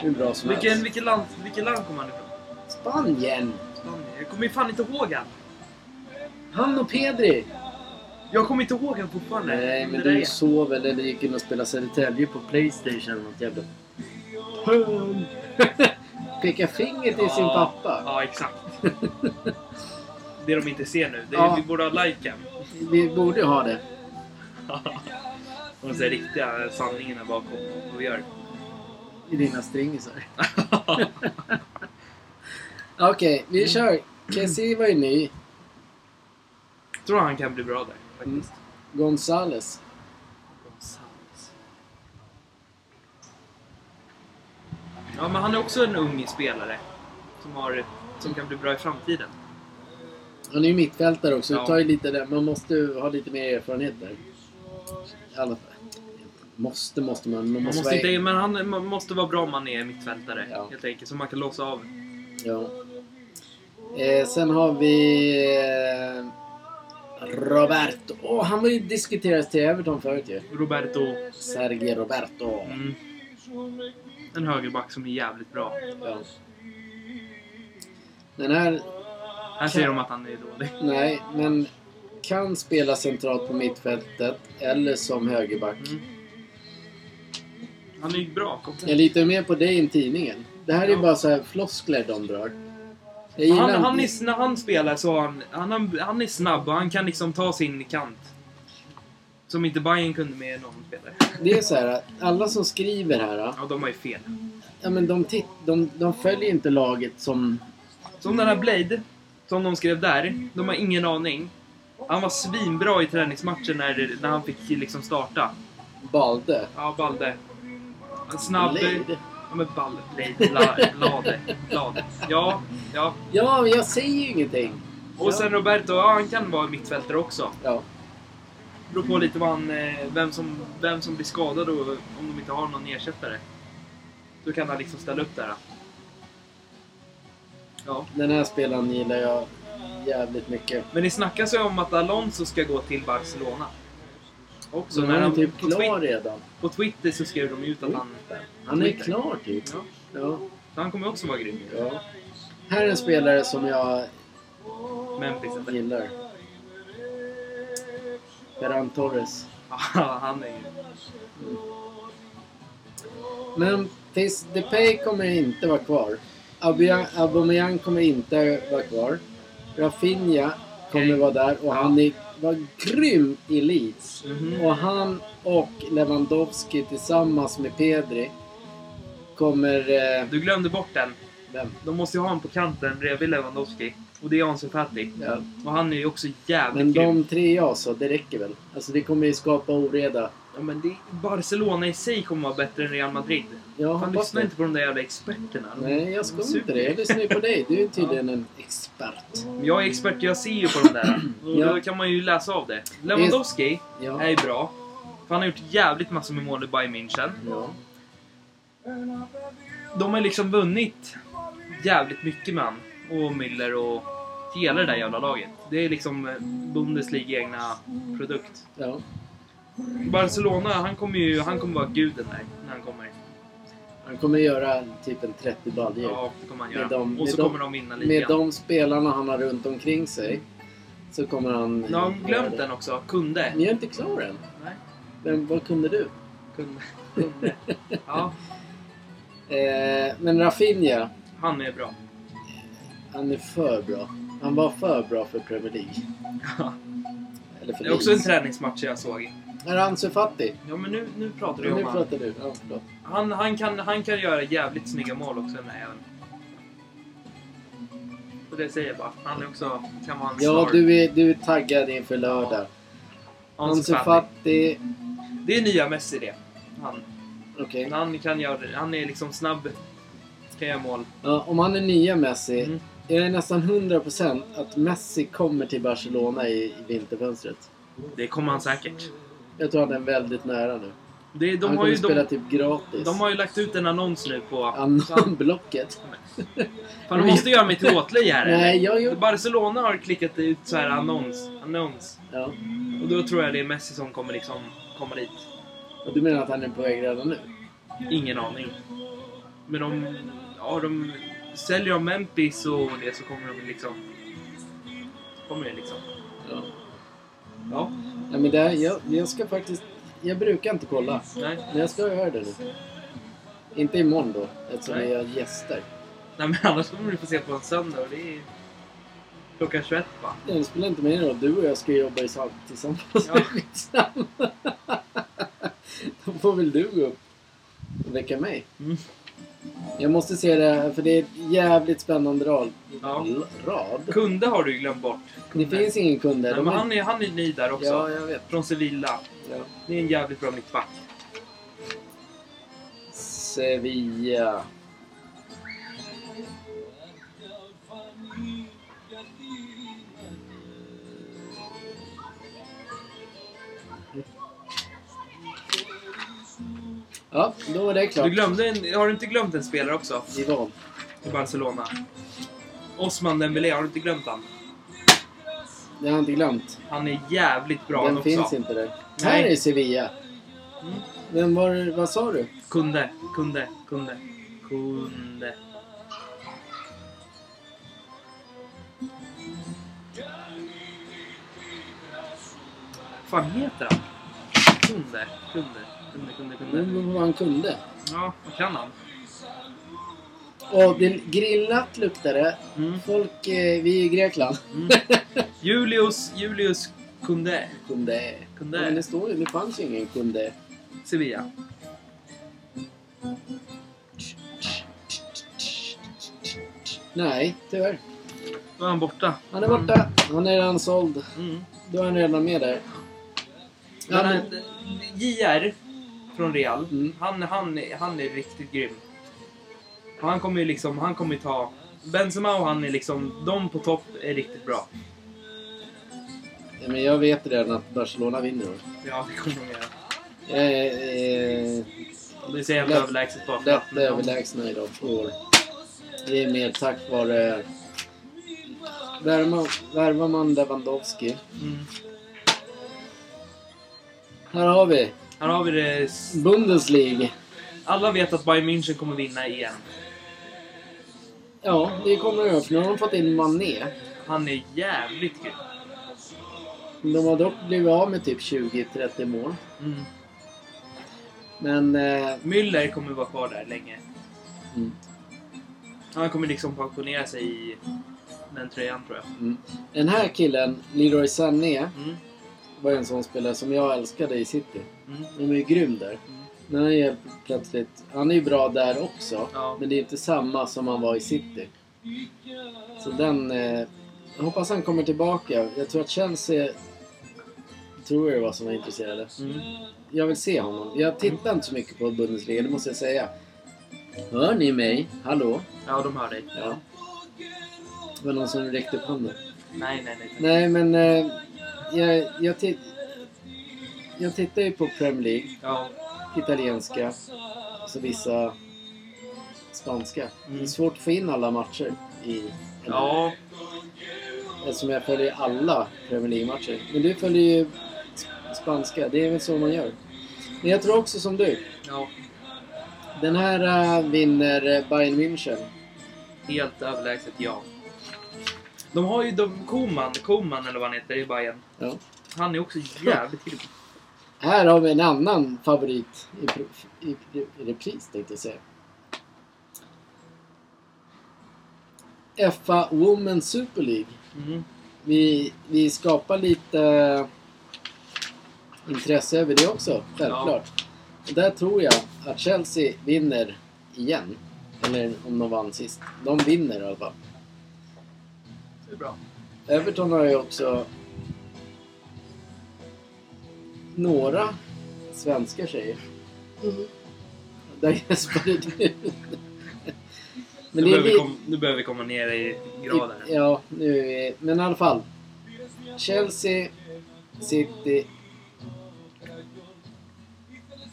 A: Hur bra som
B: Vilken,
A: helst.
B: vilket land, vilket land kommer han ifrån?
A: Spanien!
B: Spanien. Jag kommer ju fan inte ihåg han.
A: Han och Pedri!
B: Jag kommer inte ihåg han fortfarande.
A: Nej, men
B: Det där
A: du
B: är-
A: sov väl eller gick in och spelade Södertälje på Playstation eller något jävla... Hön! Peka finger till sin
B: Ja,
A: pappa.
B: Ja, exakt. det de inte ser nu. Det,
A: Ja.
B: Vi borde ha liken.
A: Vi borde ha det.
B: Och den riktiga sanningen är bakom vad vi gör.
A: I dina stringisar. Okej,
B: Mm.
A: vi kör. Kessie var ju ny.
B: tror han kan bli bra där faktiskt.
A: Gonzales.
B: Gonzales. Ja, men han är också en ung spelare. Som, har, som kan bli bra i framtiden.
A: Han är ju mittfältare också.
B: Ja.
A: Det tar ju lite där. Man måste ju ha lite mer erfarenhet där. I alla fall. Måste, måste man. Man
B: Man
A: måste,
B: måste
A: vara...
B: inte, men han man måste vara bra om man är mittfältare
A: Alltså, Ja.
B: helt enkelt. Så man kan låsa av.
A: Ja. Eh, sen har vi... Eh, Roberto. Åh, han var ju diskuterades till Everton förut ju.
B: Roberto.
A: Sergio Roberto.
B: Mm. En högerback som är jävligt bra.
A: Ja. Den här
B: Här ser de att han är dålig.
A: Nej, men kan spela centralt på mittfältet eller som högerback.
B: Mm. Han är ju bra. komplett.
A: Jag litar mer på dig än tidningen. Det här är
B: Ja.
A: bara så här floskler de drar. Jag gillar
B: Han,
A: inte-
B: han är, när han spelar så har han, han, har- han är snabb och han kan liksom ta sin kant. Som inte Bayern kunde med någon spelare.
A: Det är så här att alla som skriver här,
B: Ja, de har ju fel.
A: ja, men de, titt, de, de följer inte laget som...
B: Som den här Blade, som de skrev där. De har ingen aning. Han var svinbra i träningsmatchen när, när han fick liksom starta.
A: Balde.
B: Ja, Balde. En Snabb...
A: Lejd.
B: Ja, men Balde. Blade. La, blade. Blade. Ja, ja.
A: Ja, jag säger ju ingenting.
B: Och sen Roberto, ja han kan vara mittfältare också.
A: Ja.
B: Beror på lite vad han, eh, vem, som, vem som blir skadad och om de inte har någon ersättare. Då kan han liksom ställa upp där. Ja.
A: Den här spelaren gillar jag jävligt mycket.
B: Men det snackas ju om att Alonso ska gå till Barcelona. Också.
A: Så
B: när
A: han är
B: han,
A: typ
B: på, Twitter,
A: klar redan.
B: på Twitter så skrev de ut att han...
A: Han är
B: Twitter.
A: klar typ.
B: Ja,
A: Ja.
B: så han kommer också vara grym.
A: ja. Här är en spelare som jag
B: Memphis eller?
A: gillar. Ferran Torres.
B: Ja, han är ju...
A: Men tills Depay kommer inte vara kvar. Aubame- Aubameyang kommer inte vara kvar. Rafinha kommer
B: Okej.
A: vara där och han är, var grym i Leeds.
B: Mhm.
A: Och han och Lewandowski tillsammans med Pedri kommer... Eh,
B: Du glömde bort den.
A: vem?
B: De måste ju ha honom på kanten bredvid Lewandowski. Och det är Ansu Fati.
A: Ja.
B: Och han är ju också jävligt
A: Men
B: grym.
A: de tre jag sa, det räcker väl? Alltså det kommer ju skapa oreda.
B: Ja, men det, Barcelona i sig kommer vara bättre än Real Madrid.
A: Jag
B: Fan,
A: hoppas
B: lyssna
A: det.
B: inte på de där jävla experterna.
A: Nej, jag
B: De
A: ska
B: suger.
A: inte det. Jag lyssnar ju på dig. Du är tydligen en expert.
B: Men Jag är expert, jag ser ju på de där. Och
A: Ja.
B: Då kan man ju läsa av det. Lewandowski
A: Ja.
B: är ju bra. För han har gjort jävligt massor med mål i Bayern München.
A: Ja.
B: De har liksom vunnit jävligt mycket med han. Och Müller och hela det där jävla laget. Det är liksom eh, Bundesliga egna produkt.
A: ja.
B: Barcelona, han kommer ju han kommer vara guden där när han kommer.
A: Han kommer göra typ en 30 baljor.
B: Ja, det kommer han
A: Med
B: göra.
A: de-
B: och så
A: med de-
B: kommer de vinna
A: Med
B: ligan.
A: de spelarna han har runt omkring sig så kommer han...
B: Nu har de glömt den också. Kunde.
A: Ni är inte klara än.
B: Nej,
A: Vem, vad kunde du?
B: kunde. kunde. Ja,
A: Eh, men Rafinha,
B: han är bra.
A: han är för bra. Han var för bra för Premier League.
B: Ja.
A: Eller för
B: Det är också en
A: Leeds.
B: träningsmatch jag såg.
A: Är han så fattig?
B: Ja, men nu, nu pratar vi
A: Nu
B: om han.
A: pratar du. Ja, förlåt.
B: Han, han, kan, han kan göra jävligt snygga mål också, den här jäveln. Och det säger jag bara. Han är också, kan vara en
A: ja
B: star.
A: du, är, du är taggad inför lördag. Ansu Fati.
B: Det är nya Messi det. Han,
A: Okej.
B: han kan göra Han är liksom snabb. Kan göra mål.
A: Ja, om han är nya Messi.
B: Mm.
A: Jag är nästan 100% att Messi kommer till Barcelona i, i vinterfönstret.
B: Det kommer han säkert.
A: Jag tror han är väldigt nära nu.
B: Det, de,
A: han
B: har
A: kommer
B: ju,
A: spela
B: de,
A: typ gratis.
B: de har ju lagt ut en annons nu på...
A: Anonblocket.
B: Fan, du måste göra mig till åtlöje här eller?
A: Nej, jag gjorde...
B: Barcelona har klickat ut så här annons. annons.
A: Ja.
B: Och då tror jag det är Messi som kommer liksom komma dit.
A: Och Du menar att han är på väg redan nu?
B: Ingen aning. Men de... Ja, de... Säljer de Memphis och det så kommer de liksom... Kommer det liksom.
A: Ja.
B: Ja.
A: ja men det här, jag, jag ska faktiskt... Jag brukar inte kolla.
B: Nej.
A: Men jag ska göra det nu. Inte imorgon då, eftersom
B: Nej.
A: jag har gäster.
B: Nej men annars kommer du få se på en söndag och det är... Klockan 21 va?
A: Ja, Det spelar inte mer roll. Du och jag ska jobba i sam- tillsammans.
B: Ja.
A: Skitsamma. Då får väl du gå upp och väcka mig.
B: Mm.
A: Jag måste se det här, för det är ett jävligt spännande rad.
B: Ja.
A: L- rad.
B: Kunde har du ju glömt bort.
A: Det finns ingen kund där.
B: Nej,
A: De
B: men
A: är-
B: han är, han är ny där också.
A: Ja, jag vet.
B: Från Sevilla.
A: Ja.
B: Det är en jävligt bra mittback.
A: Sevilla. Ja, då var det
B: Du
A: klart.
B: glömde en, har du inte glömt en spelare också?
A: Yvonne.
B: I Barcelona. Osman Dembélé, har du inte glömt han?
A: Det har jag inte glömt.
B: Han är jävligt bra han
A: Den
B: också.
A: finns inte där.
B: Nej.
A: Här är Sevilla.
B: Mm.
A: Vem var Vad sa du?
B: Kunde, kunde, kunde, kunde. Vad fan heter han? Kunde, kunde, kunde, kunde, kunde.
A: Vem var han kunde?
B: Ja, vad kan han?
A: Och det grillat luktar det.
B: Mm,
A: Folk, eh, vi är i Grekland.
B: mm. Julius, Julius Kunde,
A: Kunde. Ja, men det
B: kunde.
A: står ju, det fanns ju ingen kunde.
B: Sevilla.
A: Nej, tyvärr.
B: Då är han borta.
A: Han är borta. Han är redan såld.
B: Mm. Mm.
A: Då är han redan med där.
B: Men
A: Ja,
B: han,
A: men-
B: JR från Real,
A: Mm.
B: han, han, han är riktigt grym. Och Han kommer ju liksom, han kommer ju ta... Benzema och han är liksom, de på topp är riktigt bra.
A: Ja, men jag vet redan att Barcelona vinner då.
B: Ja, det kommer de göra.
A: Jag är eh,
B: Och det är så jävla
A: Lätt-
B: överlägset bara för att...
A: lätt
B: men de-
A: överlägsna idag i år. Det är mer tack vare... Värma- Värvar man Lewandowski.
B: Mm.
A: Här har vi
B: Här har vi det. s-
A: Bundesliga.
B: Alla vet att Bayern München kommer vinna igen.
A: Ja, det kommer de göra, för nu har de fått in Mané.
B: Han är jävligt grym.
A: De har dock blivit av med typ 20-30 mål.
B: Mm.
A: Men... Eh,
B: Müller kommer vara kvar där länge.
A: mm.
B: Han kommer liksom pensionera sig i den tröjan tror jag.
A: Mm. Den här killen, Leroy Sané,
B: Mm.
A: var en sån spelare som jag älskade i City.
B: Mm.
A: De är ju grym där.
B: Mm.
A: Men han är plötsligt... Han är ju bra där också.
B: Ja.
A: Men det är inte samma som han var i City. Så den... Eh, jag hoppas han kommer tillbaka. Jag tror att Chelsea... Tror jag det var som var intresserade.
B: Mm.
A: Jag vill se honom. Jag tittar inte så mycket på Bundesliga, det måste jag säga. Hör ni mig? Hallå?
B: Ja, de hör dig.
A: Ja. Det var någon som räckte upp handen.
B: Nej, nej, nej. tack.
A: Nej, men eh, jag, jag, ti- jag tittar ju på Premier League,
B: Ja.
A: italienska, så vissa spanska.
B: Mm.
A: Det är svårt att få in alla matcher i...
B: Ja.
A: Eftersom jag följer alla Premier League-matcher. Men du följer ju sp- spanska, det är väl så man gör. Men jag tror också som du.
B: ja.
A: Den här äh, vinner eh, Bayern München.
B: Helt överlägset ja. De har ju de, Koman, Koman eller vad han heter i Bayern.
A: Ja.
B: Han är också jävligt grym.
A: Här har vi en annan favorit i, pro- i, i repris tänkte jag säga. FA Women's Super League.
B: Mm.
A: Vi, vi skapar lite eh, intresse över det också, självklart. Och Där tror jag att Chelsea vinner igen. Eller om de vann sist. De vinner i alla fall.
B: Det är bra.
A: Everton har ju också några svenska tjejer. Där gäspade du. Men
B: nu,
A: det
B: behöver
A: är
B: vi
A: lite...
B: komma, nu behöver vi komma ner i grader.
A: Ja, nu är vi... Men i alla fall. Chelsea, City,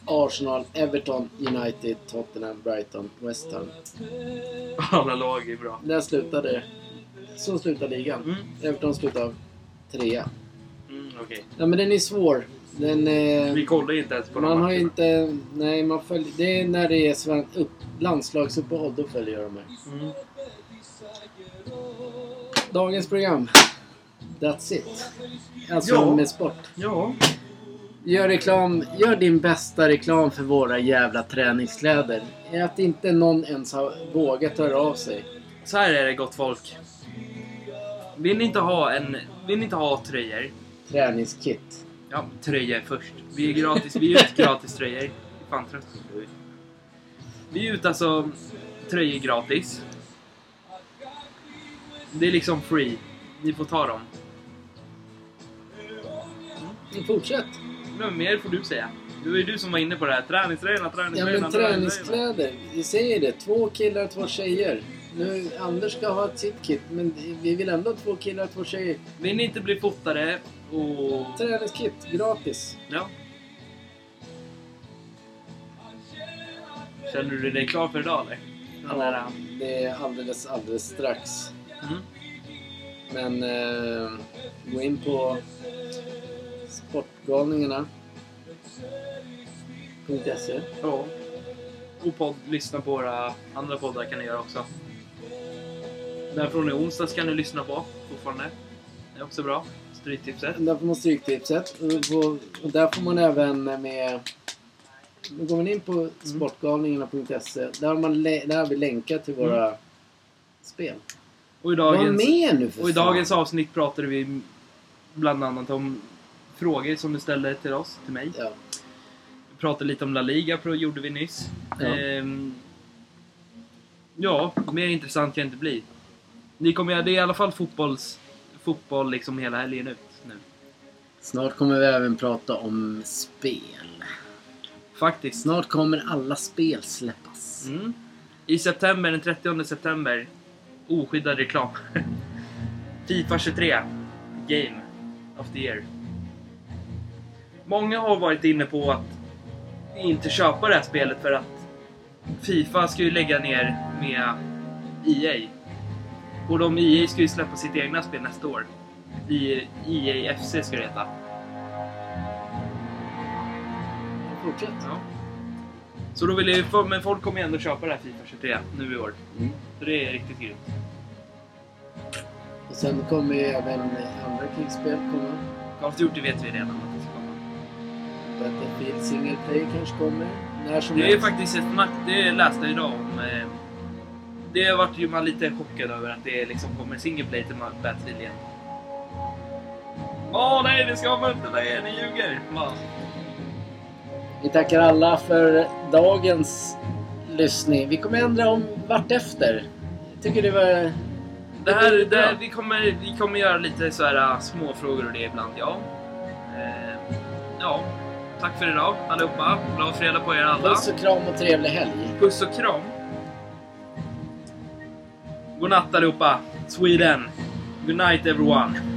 A: Arsenal, Everton, United, Tottenham, Brighton, West Ham. eh.
B: Alla lag är bra.
A: Där slutade... Så slutar ligan.
B: Mm.
A: Everton slutar trea.
B: Mm, okej.
A: Ja, men den är svår. Den... Eh...
B: Vi kollar inte ens på de
A: Man har ju
B: matcherna.
A: inte... Nej, man följer... Det är när det är sven, upp, landslagsuppehåll, då följer jag de här.
B: Mm.
A: Dagens program. That's it. Alltså
B: Ja.
A: med sport.
B: Ja.
A: Gör reklam. Gör din bästa reklam för våra jävla träningskläder. Att inte någon ens har vågat höra av sig.
B: Så här är det gott folk. Vill ni inte ha en... Vill ni inte ha tröjor?
A: Träningskit.
B: Ja, tröjor först. Vi är gratis. Vi är ut gratis tröjor. Fan trött jag blir. Vi är ut alltså tröjor gratis. Det är liksom free. Ni får ta dem.
A: Men Fortsätt.
B: Men mer får du säga. Det var ju du som var inne på det här. Träningströjorna,
A: Ja,
B: träningströjorna,
A: men
B: träningströjorna.
A: träningskläder. Vi säger det. Två killar och två tjejer. Nu, Anders ska ha ett sitt kit, men vi vill ändå ha två killar och två tjejer.
B: Vill ni inte bli fotade och...
A: Träningskit, gratis.
B: Ja. Känner du dig klar för idag eller? Den här,
A: Ja, det är alldeles, alldeles strax.
B: mm.
A: Men eh, gå in på sportgalningarna.se
B: E. Ja. Och podd, lyssna på våra andra poddar kan ni göra också. Den från i onsdags kan ni lyssna på fortfarande. Det är också bra. Stryktipset.
A: Där får man stryktipset. Och på- Och där får man även med... Då går man in
B: Mm.
A: på sportgalningarna.se. E. Där, har man lä- där har vi länkar till våra spel.
B: Och i
A: Var
B: Mm. dagens,
A: med nu för
B: och i
A: fan.
B: dagens avsnitt pratade vi bland annat om frågor som du ställde till oss, till mig.
A: Ja.
B: Vi pratade lite om La Liga, pro gjorde vi nyss.
A: Ja.
B: Ehm, ja, mer intressant kan det inte bli. Ni kommer, det är i alla fall fotbolls, fotboll liksom hela helgen ut nu.
A: Snart kommer vi även prata om spel.
B: Faktiskt.
A: Snart kommer alla spel släppas.
B: Mm. I september, den 30 september. Oskyddad reklam. Fifa 23. Game of the year. Många har varit inne på att inte köpa det här spelet för att Fifa ska ju lägga ner med EA. Och de EA ska ju släppa sitt egna spel nästa år. I E EA FC ska det heta.
A: Fortsätt.
B: Ja. Så då vill jag, men folk kommer ju ändå köpa det här Fifa 23 nu i år.
A: Mm.
B: Så det är riktigt grymt.
A: Och sen kommer ju även andra krigsspel komma.
B: Call of Duty vet vi redan att det ska komma.
A: Battlefield single player kanske kommer. När som
B: Det är
A: helst.
B: faktiskt ett snack, det läste jag idag om. eh, Det har varit ju man lite chockad över att det liksom kommer single play till Battlefield igen. Åh nej, det ska man inte! Nej, ni ljuger! Va?
A: Vi tackar alla för dagens lyssning. Vi kommer ändra om vartefter. Jag tycker det var...
B: Det här, det här,
A: bra.
B: vi, kommer, vi kommer göra lite så här äh, småfrågor och det ibland, ja. Eh, Ja, tack för idag allihopa. Glad fredag på er alla.
A: Puss och kram och trevlig helg.
B: Puss och kram. Godnatt allihopa. Sweden. Good night everyone.